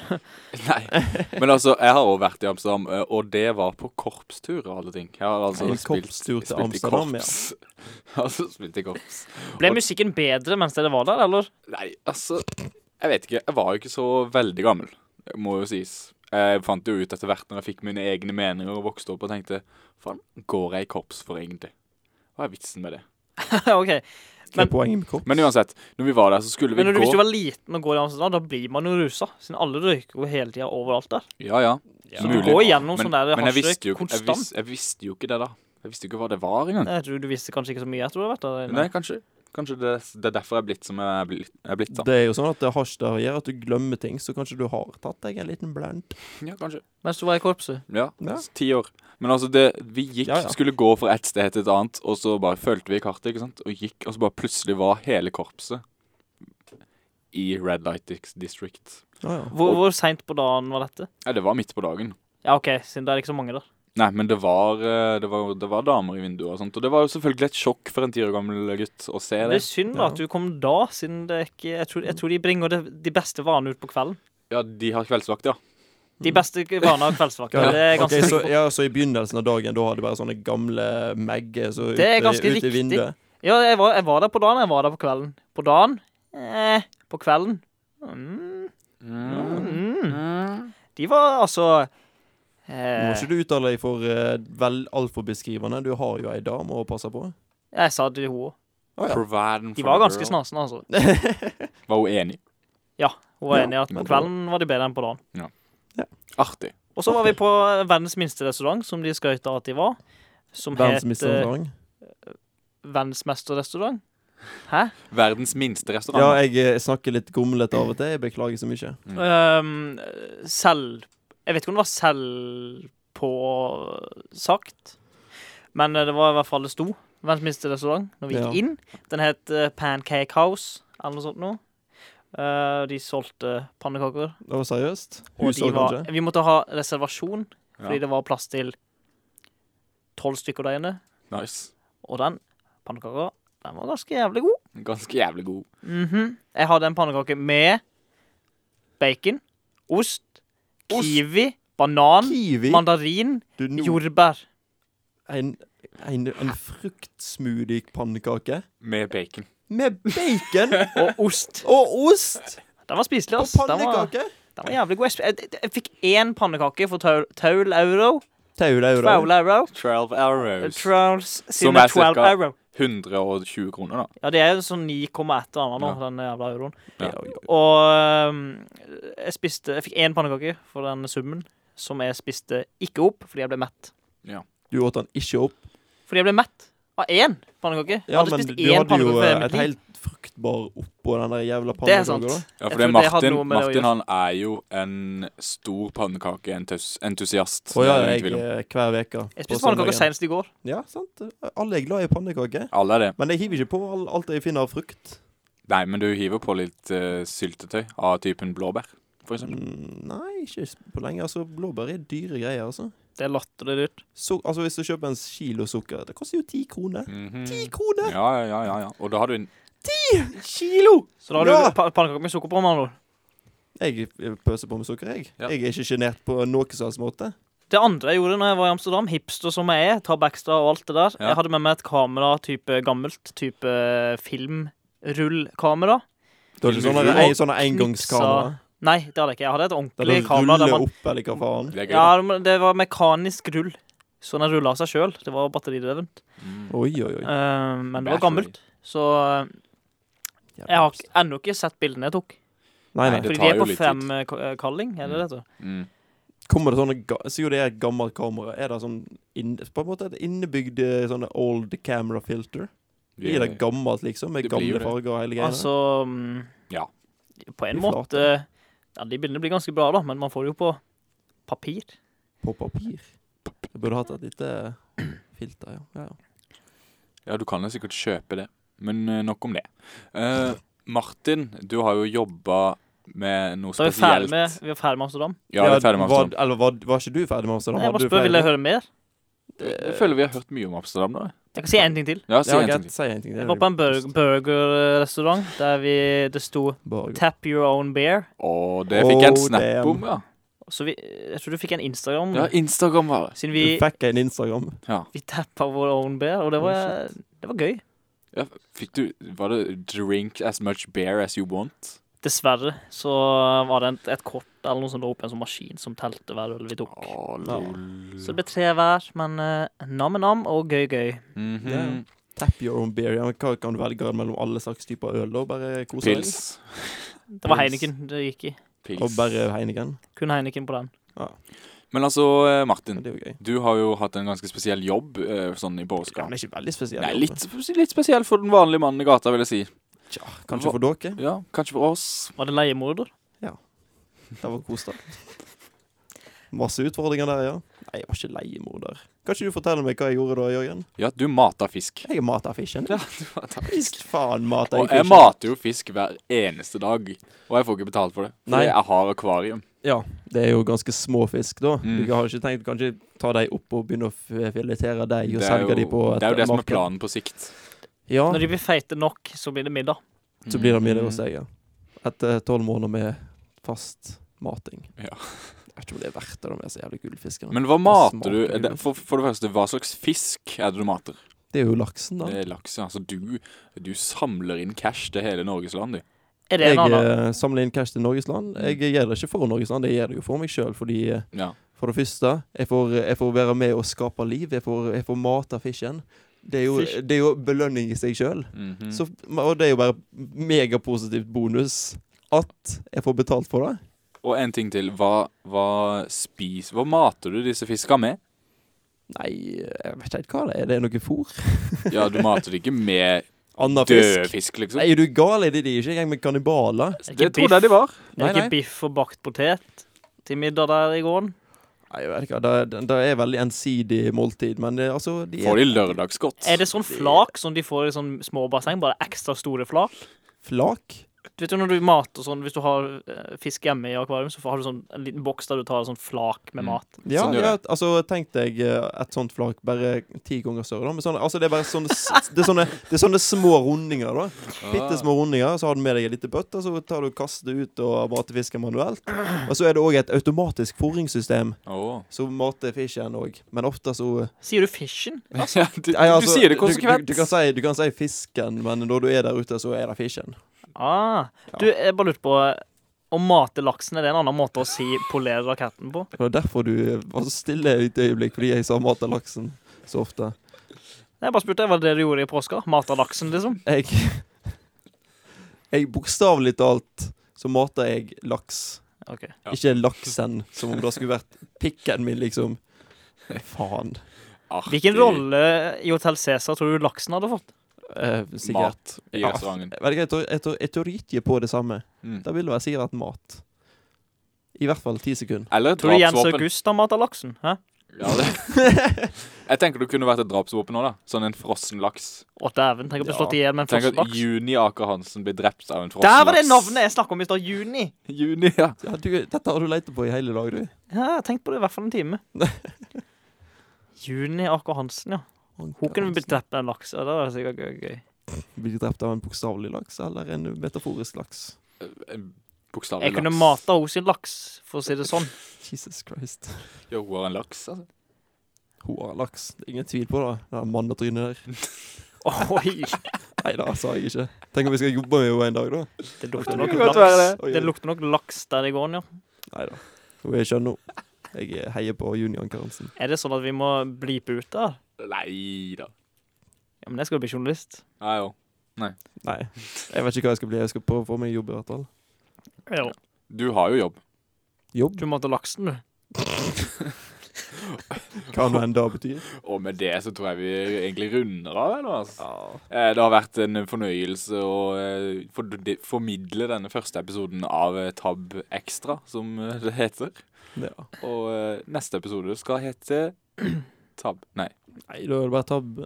Speaker 2: Nei. Men altså, jeg har òg vært i Amsterdam, eh, og det var på korpstur og alle ting. Jeg har altså
Speaker 3: En
Speaker 2: spilt,
Speaker 3: korpstur til
Speaker 2: spilt i
Speaker 3: Amsterdam, ja.
Speaker 2: korps. altså spilt i korps.
Speaker 1: Ble musikken bedre mens dere var der, eller?
Speaker 2: Nei, altså Jeg vet ikke. Jeg var jo ikke så veldig gammel, må jo sies. Jeg fant jo ut etter hvert når jeg fikk mine egne meninger og vokste opp og tenkte Faen, går jeg i korps for egentlig? Hva er vitsen med det?
Speaker 1: OK.
Speaker 3: Hva
Speaker 1: Men-
Speaker 3: er poenget med korps?
Speaker 2: Men uansett, når vi var der, så skulle vi
Speaker 1: Men når du,
Speaker 2: gå
Speaker 1: hvis du var liten og går i Amsterdam, da blir man jo rusa. Siden alle røyker jo hele tida overalt der.
Speaker 2: Ja, ja.
Speaker 1: Så du går igjennom sånn der
Speaker 2: men jeg visste,
Speaker 1: hasjrøyk
Speaker 2: jo, jeg,
Speaker 1: konstant.
Speaker 2: vis, jeg visste jo ikke det, da. Jeg visste jo ikke hva det var engang.
Speaker 1: Jeg tror du visste kanskje ikke så mye etter du har vært der.
Speaker 2: Nei, kanskje Kanskje det, det er derfor jeg er blitt som jeg er blitt, jeg er blitt da.
Speaker 3: Det er jo sånn at det er hasj der gjør at du glemmer ting, så kanskje du har tatt deg en liten blant.
Speaker 2: Ja, kanskje.
Speaker 1: Mens du var i korpset.
Speaker 2: Ja,
Speaker 3: Ja.
Speaker 2: s- Ti år. Men altså, det, vi gikk,
Speaker 3: Ja, ja.
Speaker 2: skulle gå fra et sted til et annet, og så bare fulgte vi kartet, ikke sant, og gikk, og så bare plutselig var hele korpset i Red Light Dis- District.
Speaker 3: Ja, ja.
Speaker 1: Hvor, hvor seint på dagen var dette?
Speaker 2: Ja, det var midt på dagen.
Speaker 1: Ja, OK, siden det er ikke så mange der.
Speaker 2: Nei, men det var, eh, det, var, det var damer i vinduet og sånt. Og det var jo selvfølgelig et sjokk for en ti år gammel gutt å se
Speaker 1: Det
Speaker 2: det.
Speaker 1: er synd da at du kom da, siden det ikke Jeg tror, jeg tror de bringer det, de beste vanene ut på kvelden.
Speaker 2: Ja, de har kveldsvakt, ja.
Speaker 1: De beste vanene av kveldsvaker. Det er ganske
Speaker 3: Mm. Ok, så,
Speaker 1: sikkert.
Speaker 3: ja, så i begynnelsen av dagen, da hadde du bare sånne gamle megger så ut,
Speaker 1: Det er ganske
Speaker 3: ut i
Speaker 1: riktig.
Speaker 3: vinduet?
Speaker 1: Ja, jeg var, jeg var der på dagen, jeg var der på kvelden. På dagen eh, På kvelden mm, mm. De var altså
Speaker 3: Må
Speaker 1: eh,
Speaker 3: ikke du uttale deg for eh, vel altfor beskrivende? Du har jo ei dame å passe på.
Speaker 1: Jeg sa det til henne.
Speaker 3: Å, ja.
Speaker 2: Providing
Speaker 1: De
Speaker 2: for
Speaker 1: var
Speaker 2: the
Speaker 1: ganske
Speaker 2: girl.
Speaker 1: snasende, altså.
Speaker 2: Var hun enig?
Speaker 1: Hun var
Speaker 3: Ja,
Speaker 1: enig i at på
Speaker 3: men-
Speaker 1: kvelden var de bedre enn på dagen.
Speaker 2: Artig.
Speaker 1: Og så var vi på verdens minste restaurant, som de skrøt av at de var. Som het eh,
Speaker 3: Verdensmesterrestaurant.
Speaker 1: Verdensmesterrestaurant. Hæ?
Speaker 2: Verdens minste restaurant.
Speaker 3: Ja, jeg eh, snakker litt grumlete av og til. Jeg beklager så mye.
Speaker 2: Mm.
Speaker 1: Ehm, selv Jeg vet ikke om det var selv på sagt, men eh, det var i hvert fall det sto. Verdens minste restaurant når vi gikk
Speaker 3: Ja.
Speaker 1: inn. Den het eh, Pancake House eller noe sånt noe. Eh, de solgte pannekaker.
Speaker 3: Det var seriøst.
Speaker 1: Og de
Speaker 3: Husår,
Speaker 1: var,
Speaker 3: kanskje?
Speaker 1: vi måtte ha reservasjon fordi
Speaker 2: Ja.
Speaker 1: det var plass til tolv stykker der inne.
Speaker 2: Nice.
Speaker 1: Og den pannekaka, den var ganske jævlig god.
Speaker 2: Ganske jævlig god.
Speaker 1: Mhm. Jeg hadde en pannekake med bacon, ost,
Speaker 2: Ost?
Speaker 1: kiwi, banan,
Speaker 3: Kiwi.
Speaker 1: mandarin,
Speaker 3: Du, nå-
Speaker 1: jordbær.
Speaker 3: En, en, en fruktsmoothie-pannekake
Speaker 2: Med bacon.
Speaker 3: med bacon
Speaker 1: Og ost.
Speaker 3: og ost
Speaker 1: Den var spiselig,
Speaker 3: og
Speaker 1: ass. Den var,
Speaker 3: pannekake.
Speaker 1: den var jævlig god. Jeg, sp- jeg, jeg fikk én pannekake for tau- tolv euro.
Speaker 3: Taula
Speaker 1: Tolv euro.
Speaker 2: 12 arrows.
Speaker 1: Trolls
Speaker 2: Som
Speaker 1: sine
Speaker 2: er
Speaker 1: 12
Speaker 2: cirka-
Speaker 1: euro.
Speaker 2: 120 kroner, da.
Speaker 1: Ja, det er jo sånn 9,1 eller noe, den jævla euroen.
Speaker 2: Ja.
Speaker 1: Og ehm, jeg spiste Jeg fikk én pannekake for den summen, som jeg spiste ikke opp fordi jeg ble mett.
Speaker 3: Du åt den ikke opp.
Speaker 1: Fordi jeg ble mett av én pannekake. Jeg
Speaker 3: Ja,
Speaker 1: hadde
Speaker 3: men
Speaker 1: spist
Speaker 3: du
Speaker 1: én
Speaker 3: hadde jo
Speaker 1: pannekake
Speaker 3: eh,
Speaker 1: før
Speaker 3: et
Speaker 1: mitt liv.
Speaker 3: helt fruktbar oppå den der jævla
Speaker 1: Det er sant.
Speaker 3: pannekaka. da.
Speaker 2: Ja,
Speaker 1: Jeg
Speaker 2: for det er
Speaker 1: tror det hadde
Speaker 2: Martin,
Speaker 1: noe med det å
Speaker 2: Martin
Speaker 1: gjøre.
Speaker 2: han er jo en stor pannekakeentusiast.
Speaker 3: Å ja,
Speaker 2: det er ingen
Speaker 3: jeg
Speaker 2: tvil om.
Speaker 3: eh, hver uke.
Speaker 1: Jeg
Speaker 3: på
Speaker 1: spiste pannekaker
Speaker 3: søndagen.
Speaker 1: senest i går.
Speaker 3: Ja, sant. Alle er glad i pannekaker.
Speaker 2: Alle er det.
Speaker 3: Men jeg hiver ikke på all- alt jeg finner av frukt.
Speaker 2: Nei, men du hiver på litt eh, syltetøy av typen blåbær, for eksempel.
Speaker 3: Mm, Nei, ikke på lenge. Altså, Blåbær er dyre greier, altså.
Speaker 1: Det er latterlig dyrt.
Speaker 3: Su- altså Hvis du kjøper en kilo sukker, det koster jo ti kroner.
Speaker 2: Mhm.
Speaker 3: Ti kroner!
Speaker 2: Ja, ja, ja, ja, ja. Og da har du en
Speaker 3: Mm. Kilo!
Speaker 1: Så da har
Speaker 3: Ja!
Speaker 1: du pa pannekaker med sukker på. med andre ord.
Speaker 3: Jeg pøser på med sukker, jeg.
Speaker 2: Ja.
Speaker 3: Jeg er ikke sjenert på noen som helst måte.
Speaker 1: Det andre jeg gjorde når jeg var i Amsterdam, hipster som jeg er, tar backstra og alt det der
Speaker 2: Ja.
Speaker 1: Jeg hadde med meg et kamera type gammelt, type eh, filmrullkamera.
Speaker 3: Du har ikke sånne,
Speaker 2: Knipsa-
Speaker 3: ei, sånne engangskamera?
Speaker 1: Nei, det hadde jeg ikke. Jeg hadde et
Speaker 3: Der du
Speaker 1: ordentlig kamera der
Speaker 3: ruller
Speaker 1: man
Speaker 3: opp, eller hva faen?
Speaker 2: Det er gøy. da.
Speaker 1: Ja, men det var mekanisk rull. Så den rulla av seg sjøl. Det var batteridrevent.
Speaker 2: Mm.
Speaker 3: Oi, oi, oi.
Speaker 1: Eh, men det
Speaker 2: Battery.
Speaker 1: var gammelt. Så eh, jeg har ikke- ennå ikke sett bildene jeg tok.
Speaker 3: Nei, nei.
Speaker 2: Det
Speaker 1: Fordi
Speaker 2: tar
Speaker 1: de er
Speaker 2: jo
Speaker 1: på eh,
Speaker 2: litt tid.
Speaker 1: femkalling, er det det heter?
Speaker 2: Mm.
Speaker 3: Kommer det sånne ga Siden det er et gammelt kamera, er det sånn inn, på en måte et innebygd eh, sånne old camera filter? Blir det gammelt, liksom? Med
Speaker 2: Det blir jo
Speaker 3: gamle
Speaker 2: det.
Speaker 3: farger og hele greia?
Speaker 1: Altså mm,
Speaker 2: Ja.
Speaker 1: På en
Speaker 3: I
Speaker 1: måte
Speaker 3: flate.
Speaker 1: ja, De bildene blir ganske bra, da, men man får det jo på papir.
Speaker 3: På papir? Jeg burde hatt et lite filter, ja. ja, ja.
Speaker 2: Ja, du kan jo sikkert kjøpe det. Men eh, nok om det. Eh, Martin, du har jo jobba med noe
Speaker 1: Da er vi ferdig
Speaker 2: spesielt.
Speaker 1: med, vi er ferdig med Amsterdam.
Speaker 2: Ja, det er ferdig med
Speaker 3: var-
Speaker 2: Amsterdam.
Speaker 3: Eller var, var ikke du ferdig med Amsterdam?
Speaker 1: Jeg
Speaker 3: Hadde
Speaker 1: bare
Speaker 3: du
Speaker 1: spør,
Speaker 3: flere-
Speaker 1: vil jeg høre mer?
Speaker 2: Jeg føler vi har hørt mye om Amsterdam nå.
Speaker 1: Jeg kan si en ting til.
Speaker 2: Ja, si
Speaker 3: Ja,
Speaker 2: en ting
Speaker 3: greit,
Speaker 2: til.
Speaker 3: si en ting. det
Speaker 1: Jeg
Speaker 3: er
Speaker 1: var på en bur
Speaker 3: positivt.
Speaker 1: burgerrestaurant der vi, det sto
Speaker 3: Burger.
Speaker 1: 'Tap your own beer'.
Speaker 2: Å, det fikk jeg en
Speaker 3: Oh,
Speaker 2: snap om,
Speaker 3: damn.
Speaker 2: ja.
Speaker 1: Så vi, jeg tror du fikk en Instagram.
Speaker 2: Ja, Instagram var det.
Speaker 1: Siden
Speaker 3: Du
Speaker 1: vi,
Speaker 3: fikk en Instagram.
Speaker 1: vi tappa vår own beer, og det var, det var gøy.
Speaker 2: Ja, fikk du Var det 'drink as much beer as you want'?
Speaker 1: Dessverre så var det et, et kort eller noe som lå oppe i en sånn maskin som telte hver øl vi tok.
Speaker 2: Å,
Speaker 3: Ja.
Speaker 2: lol.
Speaker 1: Så det ble tre hver, men uh, nam-nam og gøy-gøy.
Speaker 2: Mhm.
Speaker 3: Ja. Tap your own beer. Ja, men hva kan du velge mellom alle slags typer øl? da? Bare kose deg?
Speaker 2: Pils.
Speaker 1: Det var
Speaker 3: Pils.
Speaker 1: Heineken det gikk i.
Speaker 2: Pils.
Speaker 3: Og bare Heineken?
Speaker 1: Kun Heineken på den.
Speaker 2: Men altså, eh,
Speaker 3: Ja,
Speaker 2: Martin.
Speaker 3: det er jo gøy.
Speaker 2: Du har jo hatt en ganske spesiell jobb eh, sånn i
Speaker 3: Ja,
Speaker 2: påska.
Speaker 3: men det er ikke veldig spesiell.
Speaker 2: Nei, litt, litt spesiell for den vanlige mannen i gata, vil jeg si.
Speaker 3: Tja, kanskje for dere.
Speaker 2: Ja, kanskje for oss.
Speaker 1: Var det leiemorder?
Speaker 3: Det var kos, da. Masse utfordringer der, ja. Nei, jeg var ikke leiemorder. Kan ikke du fortelle meg hva jeg gjorde da, Jørgen?
Speaker 2: Ja, du mater fisk.
Speaker 3: Jeg mata fisken.
Speaker 2: Ja, du mater
Speaker 3: Fisk faen mater
Speaker 2: Og
Speaker 3: jeg
Speaker 2: jeg
Speaker 3: fisken.
Speaker 2: mater jo fisk hver eneste dag. Og jeg får ikke betalt for det.
Speaker 3: Nei.
Speaker 2: Fordi jeg har akvarium.
Speaker 3: Ja, det er jo ganske små fisk, da.
Speaker 2: Mm.
Speaker 3: Du har ikke tenkt kanskje ta dem opp og begynne å f- filetere dem og
Speaker 2: Det er jo
Speaker 3: selge dem på et
Speaker 2: det, er jo det som er
Speaker 3: marked?
Speaker 2: planen på sikt.
Speaker 3: Ja,
Speaker 1: Når de blir feite nok, så blir det middag.
Speaker 3: så blir det middag hos
Speaker 2: Mm.
Speaker 3: deg, ja. Etter tolv måneder med fast mating.
Speaker 2: Ja.
Speaker 3: Jeg vet ikke om det er verdt det da, med så jævlig gullfisker.
Speaker 2: Men hva
Speaker 3: smaker
Speaker 2: mater du?
Speaker 3: jo
Speaker 2: Det,
Speaker 3: godt.
Speaker 2: for, for det første, hva slags fisk er det du mater?
Speaker 3: Det er jo laksen, da.
Speaker 2: Det er laks, ja. Altså, du, du samler inn cash til hele Norges land, du.
Speaker 1: Er det
Speaker 3: Jeg
Speaker 1: en annen?
Speaker 3: eh, samler inn cash til Norges land.
Speaker 2: Mm.
Speaker 3: Jeg gjør det ikke for Norges land, jeg gjør det jo for meg sjøl. Fordi eh,
Speaker 2: Ja.
Speaker 3: for det første, jeg får, jeg får være med og skape liv. Jeg får, jeg får mate fisken. Det er, jo,
Speaker 1: Fish.
Speaker 3: det er jo belønning i seg sjøl.
Speaker 2: Mhm.
Speaker 3: Så, og det er jo bare megapositivt bonus at jeg får betalt for det.
Speaker 2: Og en ting til. Hva, hva spis... Hva mater du disse fiska med?
Speaker 3: Nei, jeg vet ikke helt hva det er. Det er noe fôr.
Speaker 2: Ja, du mater det ikke med
Speaker 3: Anna
Speaker 2: død
Speaker 3: fisk.
Speaker 2: fisk, liksom.
Speaker 3: Nei, er du gal? Er de de er ikke engang med kannibaler?
Speaker 1: Er
Speaker 2: Det
Speaker 1: ikke
Speaker 2: trodde jeg de var.
Speaker 1: Er
Speaker 3: Nei,
Speaker 1: det
Speaker 3: nei.
Speaker 1: ikke biff og bakt potet til middag der i gården?
Speaker 3: Nei, jeg vet ikke. Det, det, det er veldig ensidig måltid, men det, altså de
Speaker 2: Får
Speaker 3: er
Speaker 2: de lørdagsgodt?
Speaker 1: Er det sånn flak som de får i sånn små basseng? Bare ekstra store flak?
Speaker 3: flak.
Speaker 1: Du vet jo når du mater sånn, Hvis du har eh, fisk hjemme i akvarium, så har du sånn en liten boks der du tar sånn flak med
Speaker 2: Mm.
Speaker 1: mat.
Speaker 3: Ja,
Speaker 2: Sånn gjør
Speaker 3: ja, altså tenk deg eh, et sånt flak bare ti ganger større. da Men sånne, altså, det er bare sånne, s- det er sånne, det er sånne små rundinger. da
Speaker 2: Ah.
Speaker 3: Bitte små rundinger, så har du med deg en liten bøtte, så tar du og kaster det ut og mater fisken manuelt. Og så er det òg et automatisk fôringssystem
Speaker 2: Åh.
Speaker 3: som mater fisken òg. Men ofte så eh,
Speaker 1: Sier du fishen?
Speaker 2: Ja, du,
Speaker 3: Nei, altså,
Speaker 2: du sier det
Speaker 3: Du,
Speaker 2: konsekvent.
Speaker 3: du, du, kan si, du kan si fisken, men når du er der ute, så er det fisken.
Speaker 1: Ah. Du, jeg bare lurte på Å mate laksen, er det en annen måte å si 'polere raketten' på?
Speaker 3: Det var derfor du var så stille et øyeblikk, fordi jeg sa mater laksen så ofte.
Speaker 1: Jeg bare spurte, Var det det du gjorde i påska? Mata laksen, liksom?
Speaker 3: Jeg Jeg bokstavelig talt så mater jeg laks.
Speaker 1: Ok.
Speaker 2: Ja.
Speaker 3: Ikke laksen, som om det skulle vært pikken min, liksom. Faen.
Speaker 2: Artig
Speaker 1: Hvilken rolle i Hotell Cæsar tror du laksen hadde fått?
Speaker 3: Eh, sikkert.
Speaker 2: mat i
Speaker 3: Ja.
Speaker 2: restauranten.
Speaker 3: Jeg vet ikke, jeg tror- jeg tror- jeg tror ikke på det samme.
Speaker 2: Mm.
Speaker 3: Da vil det være sikkert mat. I hvert fall ti sekunder.
Speaker 2: Eller et
Speaker 1: Tror du Jens
Speaker 2: drapsvåpen.
Speaker 1: August har mata laksen? Hæ?
Speaker 2: Ja, det. Jeg tenker det kunne vært et drapsvåpen òg, da. Sånn en frossen laks.
Speaker 1: Å, dæven. Tenk å bli
Speaker 3: Ja.
Speaker 1: slått i hjel med en
Speaker 2: Tenk
Speaker 1: frossen
Speaker 2: at
Speaker 1: laks.
Speaker 2: Juni Aker Hansen blir drept av en frossen
Speaker 1: Der
Speaker 2: laks.
Speaker 1: var det navnet jeg snakka om i stad. Juni.
Speaker 2: Juni, ja.
Speaker 3: Ja, du, dette har du lett på i hele dag, du.
Speaker 1: Ja, jeg har tenkt på det i hvert fall en time. Juni Aker Hansen, ja. Hun kunne blitt drept av en laks. Ja, det var sikkert gøy. gøy.
Speaker 3: Blir drept av en bokstavelig laks eller en metaforisk laks?
Speaker 2: En Bokstavelig
Speaker 1: Jeg kunne
Speaker 2: laks.
Speaker 1: mata henne sin laks, for å si det sånn.
Speaker 3: Jesus Christ.
Speaker 2: Ja, hun har en laks, altså.
Speaker 3: Hun har laks. Det er ingen tvil på det. Det er mannetrynet der.
Speaker 1: Oi!
Speaker 3: Nei da, sa jeg ikke. Tenk om vi skal jobbe med henne en dag, da.
Speaker 1: Det lukter
Speaker 2: Det
Speaker 1: nok
Speaker 2: kan godt være
Speaker 1: laks.
Speaker 2: det.
Speaker 3: Oi,
Speaker 1: Det
Speaker 3: oi.
Speaker 1: lukter nok laks der i gården, ja.
Speaker 3: Nei da. Hun er skjønn nå. Jeg eh, heier på Junior Karensen.
Speaker 1: Er det sånn at vi må blipe ut der?
Speaker 2: Nei da.
Speaker 1: Ja, men jeg skal bli journalist.
Speaker 2: Ja, jo.
Speaker 3: Nei, jeg vet ikke hva jeg skal bli. Jeg skal prøve å få meg jobb, i hvert fall.
Speaker 1: Ja.
Speaker 2: Du har jo jobb.
Speaker 3: Jobb?
Speaker 1: Du mata laksen, du.
Speaker 3: Hva nå enn det betyr.
Speaker 2: Og med det så tror jeg vi egentlig runder av. Eller, altså.
Speaker 3: Ja.
Speaker 2: Eh, Det har vært en fornøyelse å eh, for- de- formidle denne første episoden av eh, Tab Extra, som eh, det heter.
Speaker 3: ja.
Speaker 2: Og eh, neste episode skal hete Tab Nei.
Speaker 3: Nei, da er det bare tab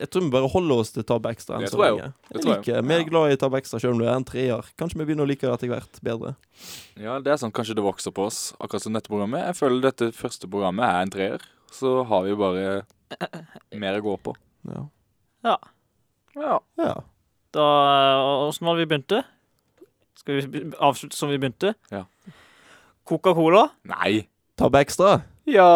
Speaker 3: Jeg tror vi bare holder oss til tab ekstra enn
Speaker 2: Det
Speaker 3: så
Speaker 2: tror jeg jo.
Speaker 3: lenge. Jeg
Speaker 2: Det tror jeg.
Speaker 3: liker mer glad i tab ekstra selv om du er en treer. Kanskje vi begynner å like det etter hvert bedre.
Speaker 2: Ja, det er sånn kanskje det vokser på oss, akkurat som dette programmet. Jeg føler dette første programmet er en treer. Så har vi bare mer å gå på.
Speaker 3: Ja.
Speaker 2: Ja.
Speaker 3: ja.
Speaker 1: Da eh, Åssen var det vi begynte? Skal vi be- avslutte som vi begynte?
Speaker 2: Ja.
Speaker 1: Coca-Cola?
Speaker 2: Nei.
Speaker 3: Tab ekstra.
Speaker 2: Ja.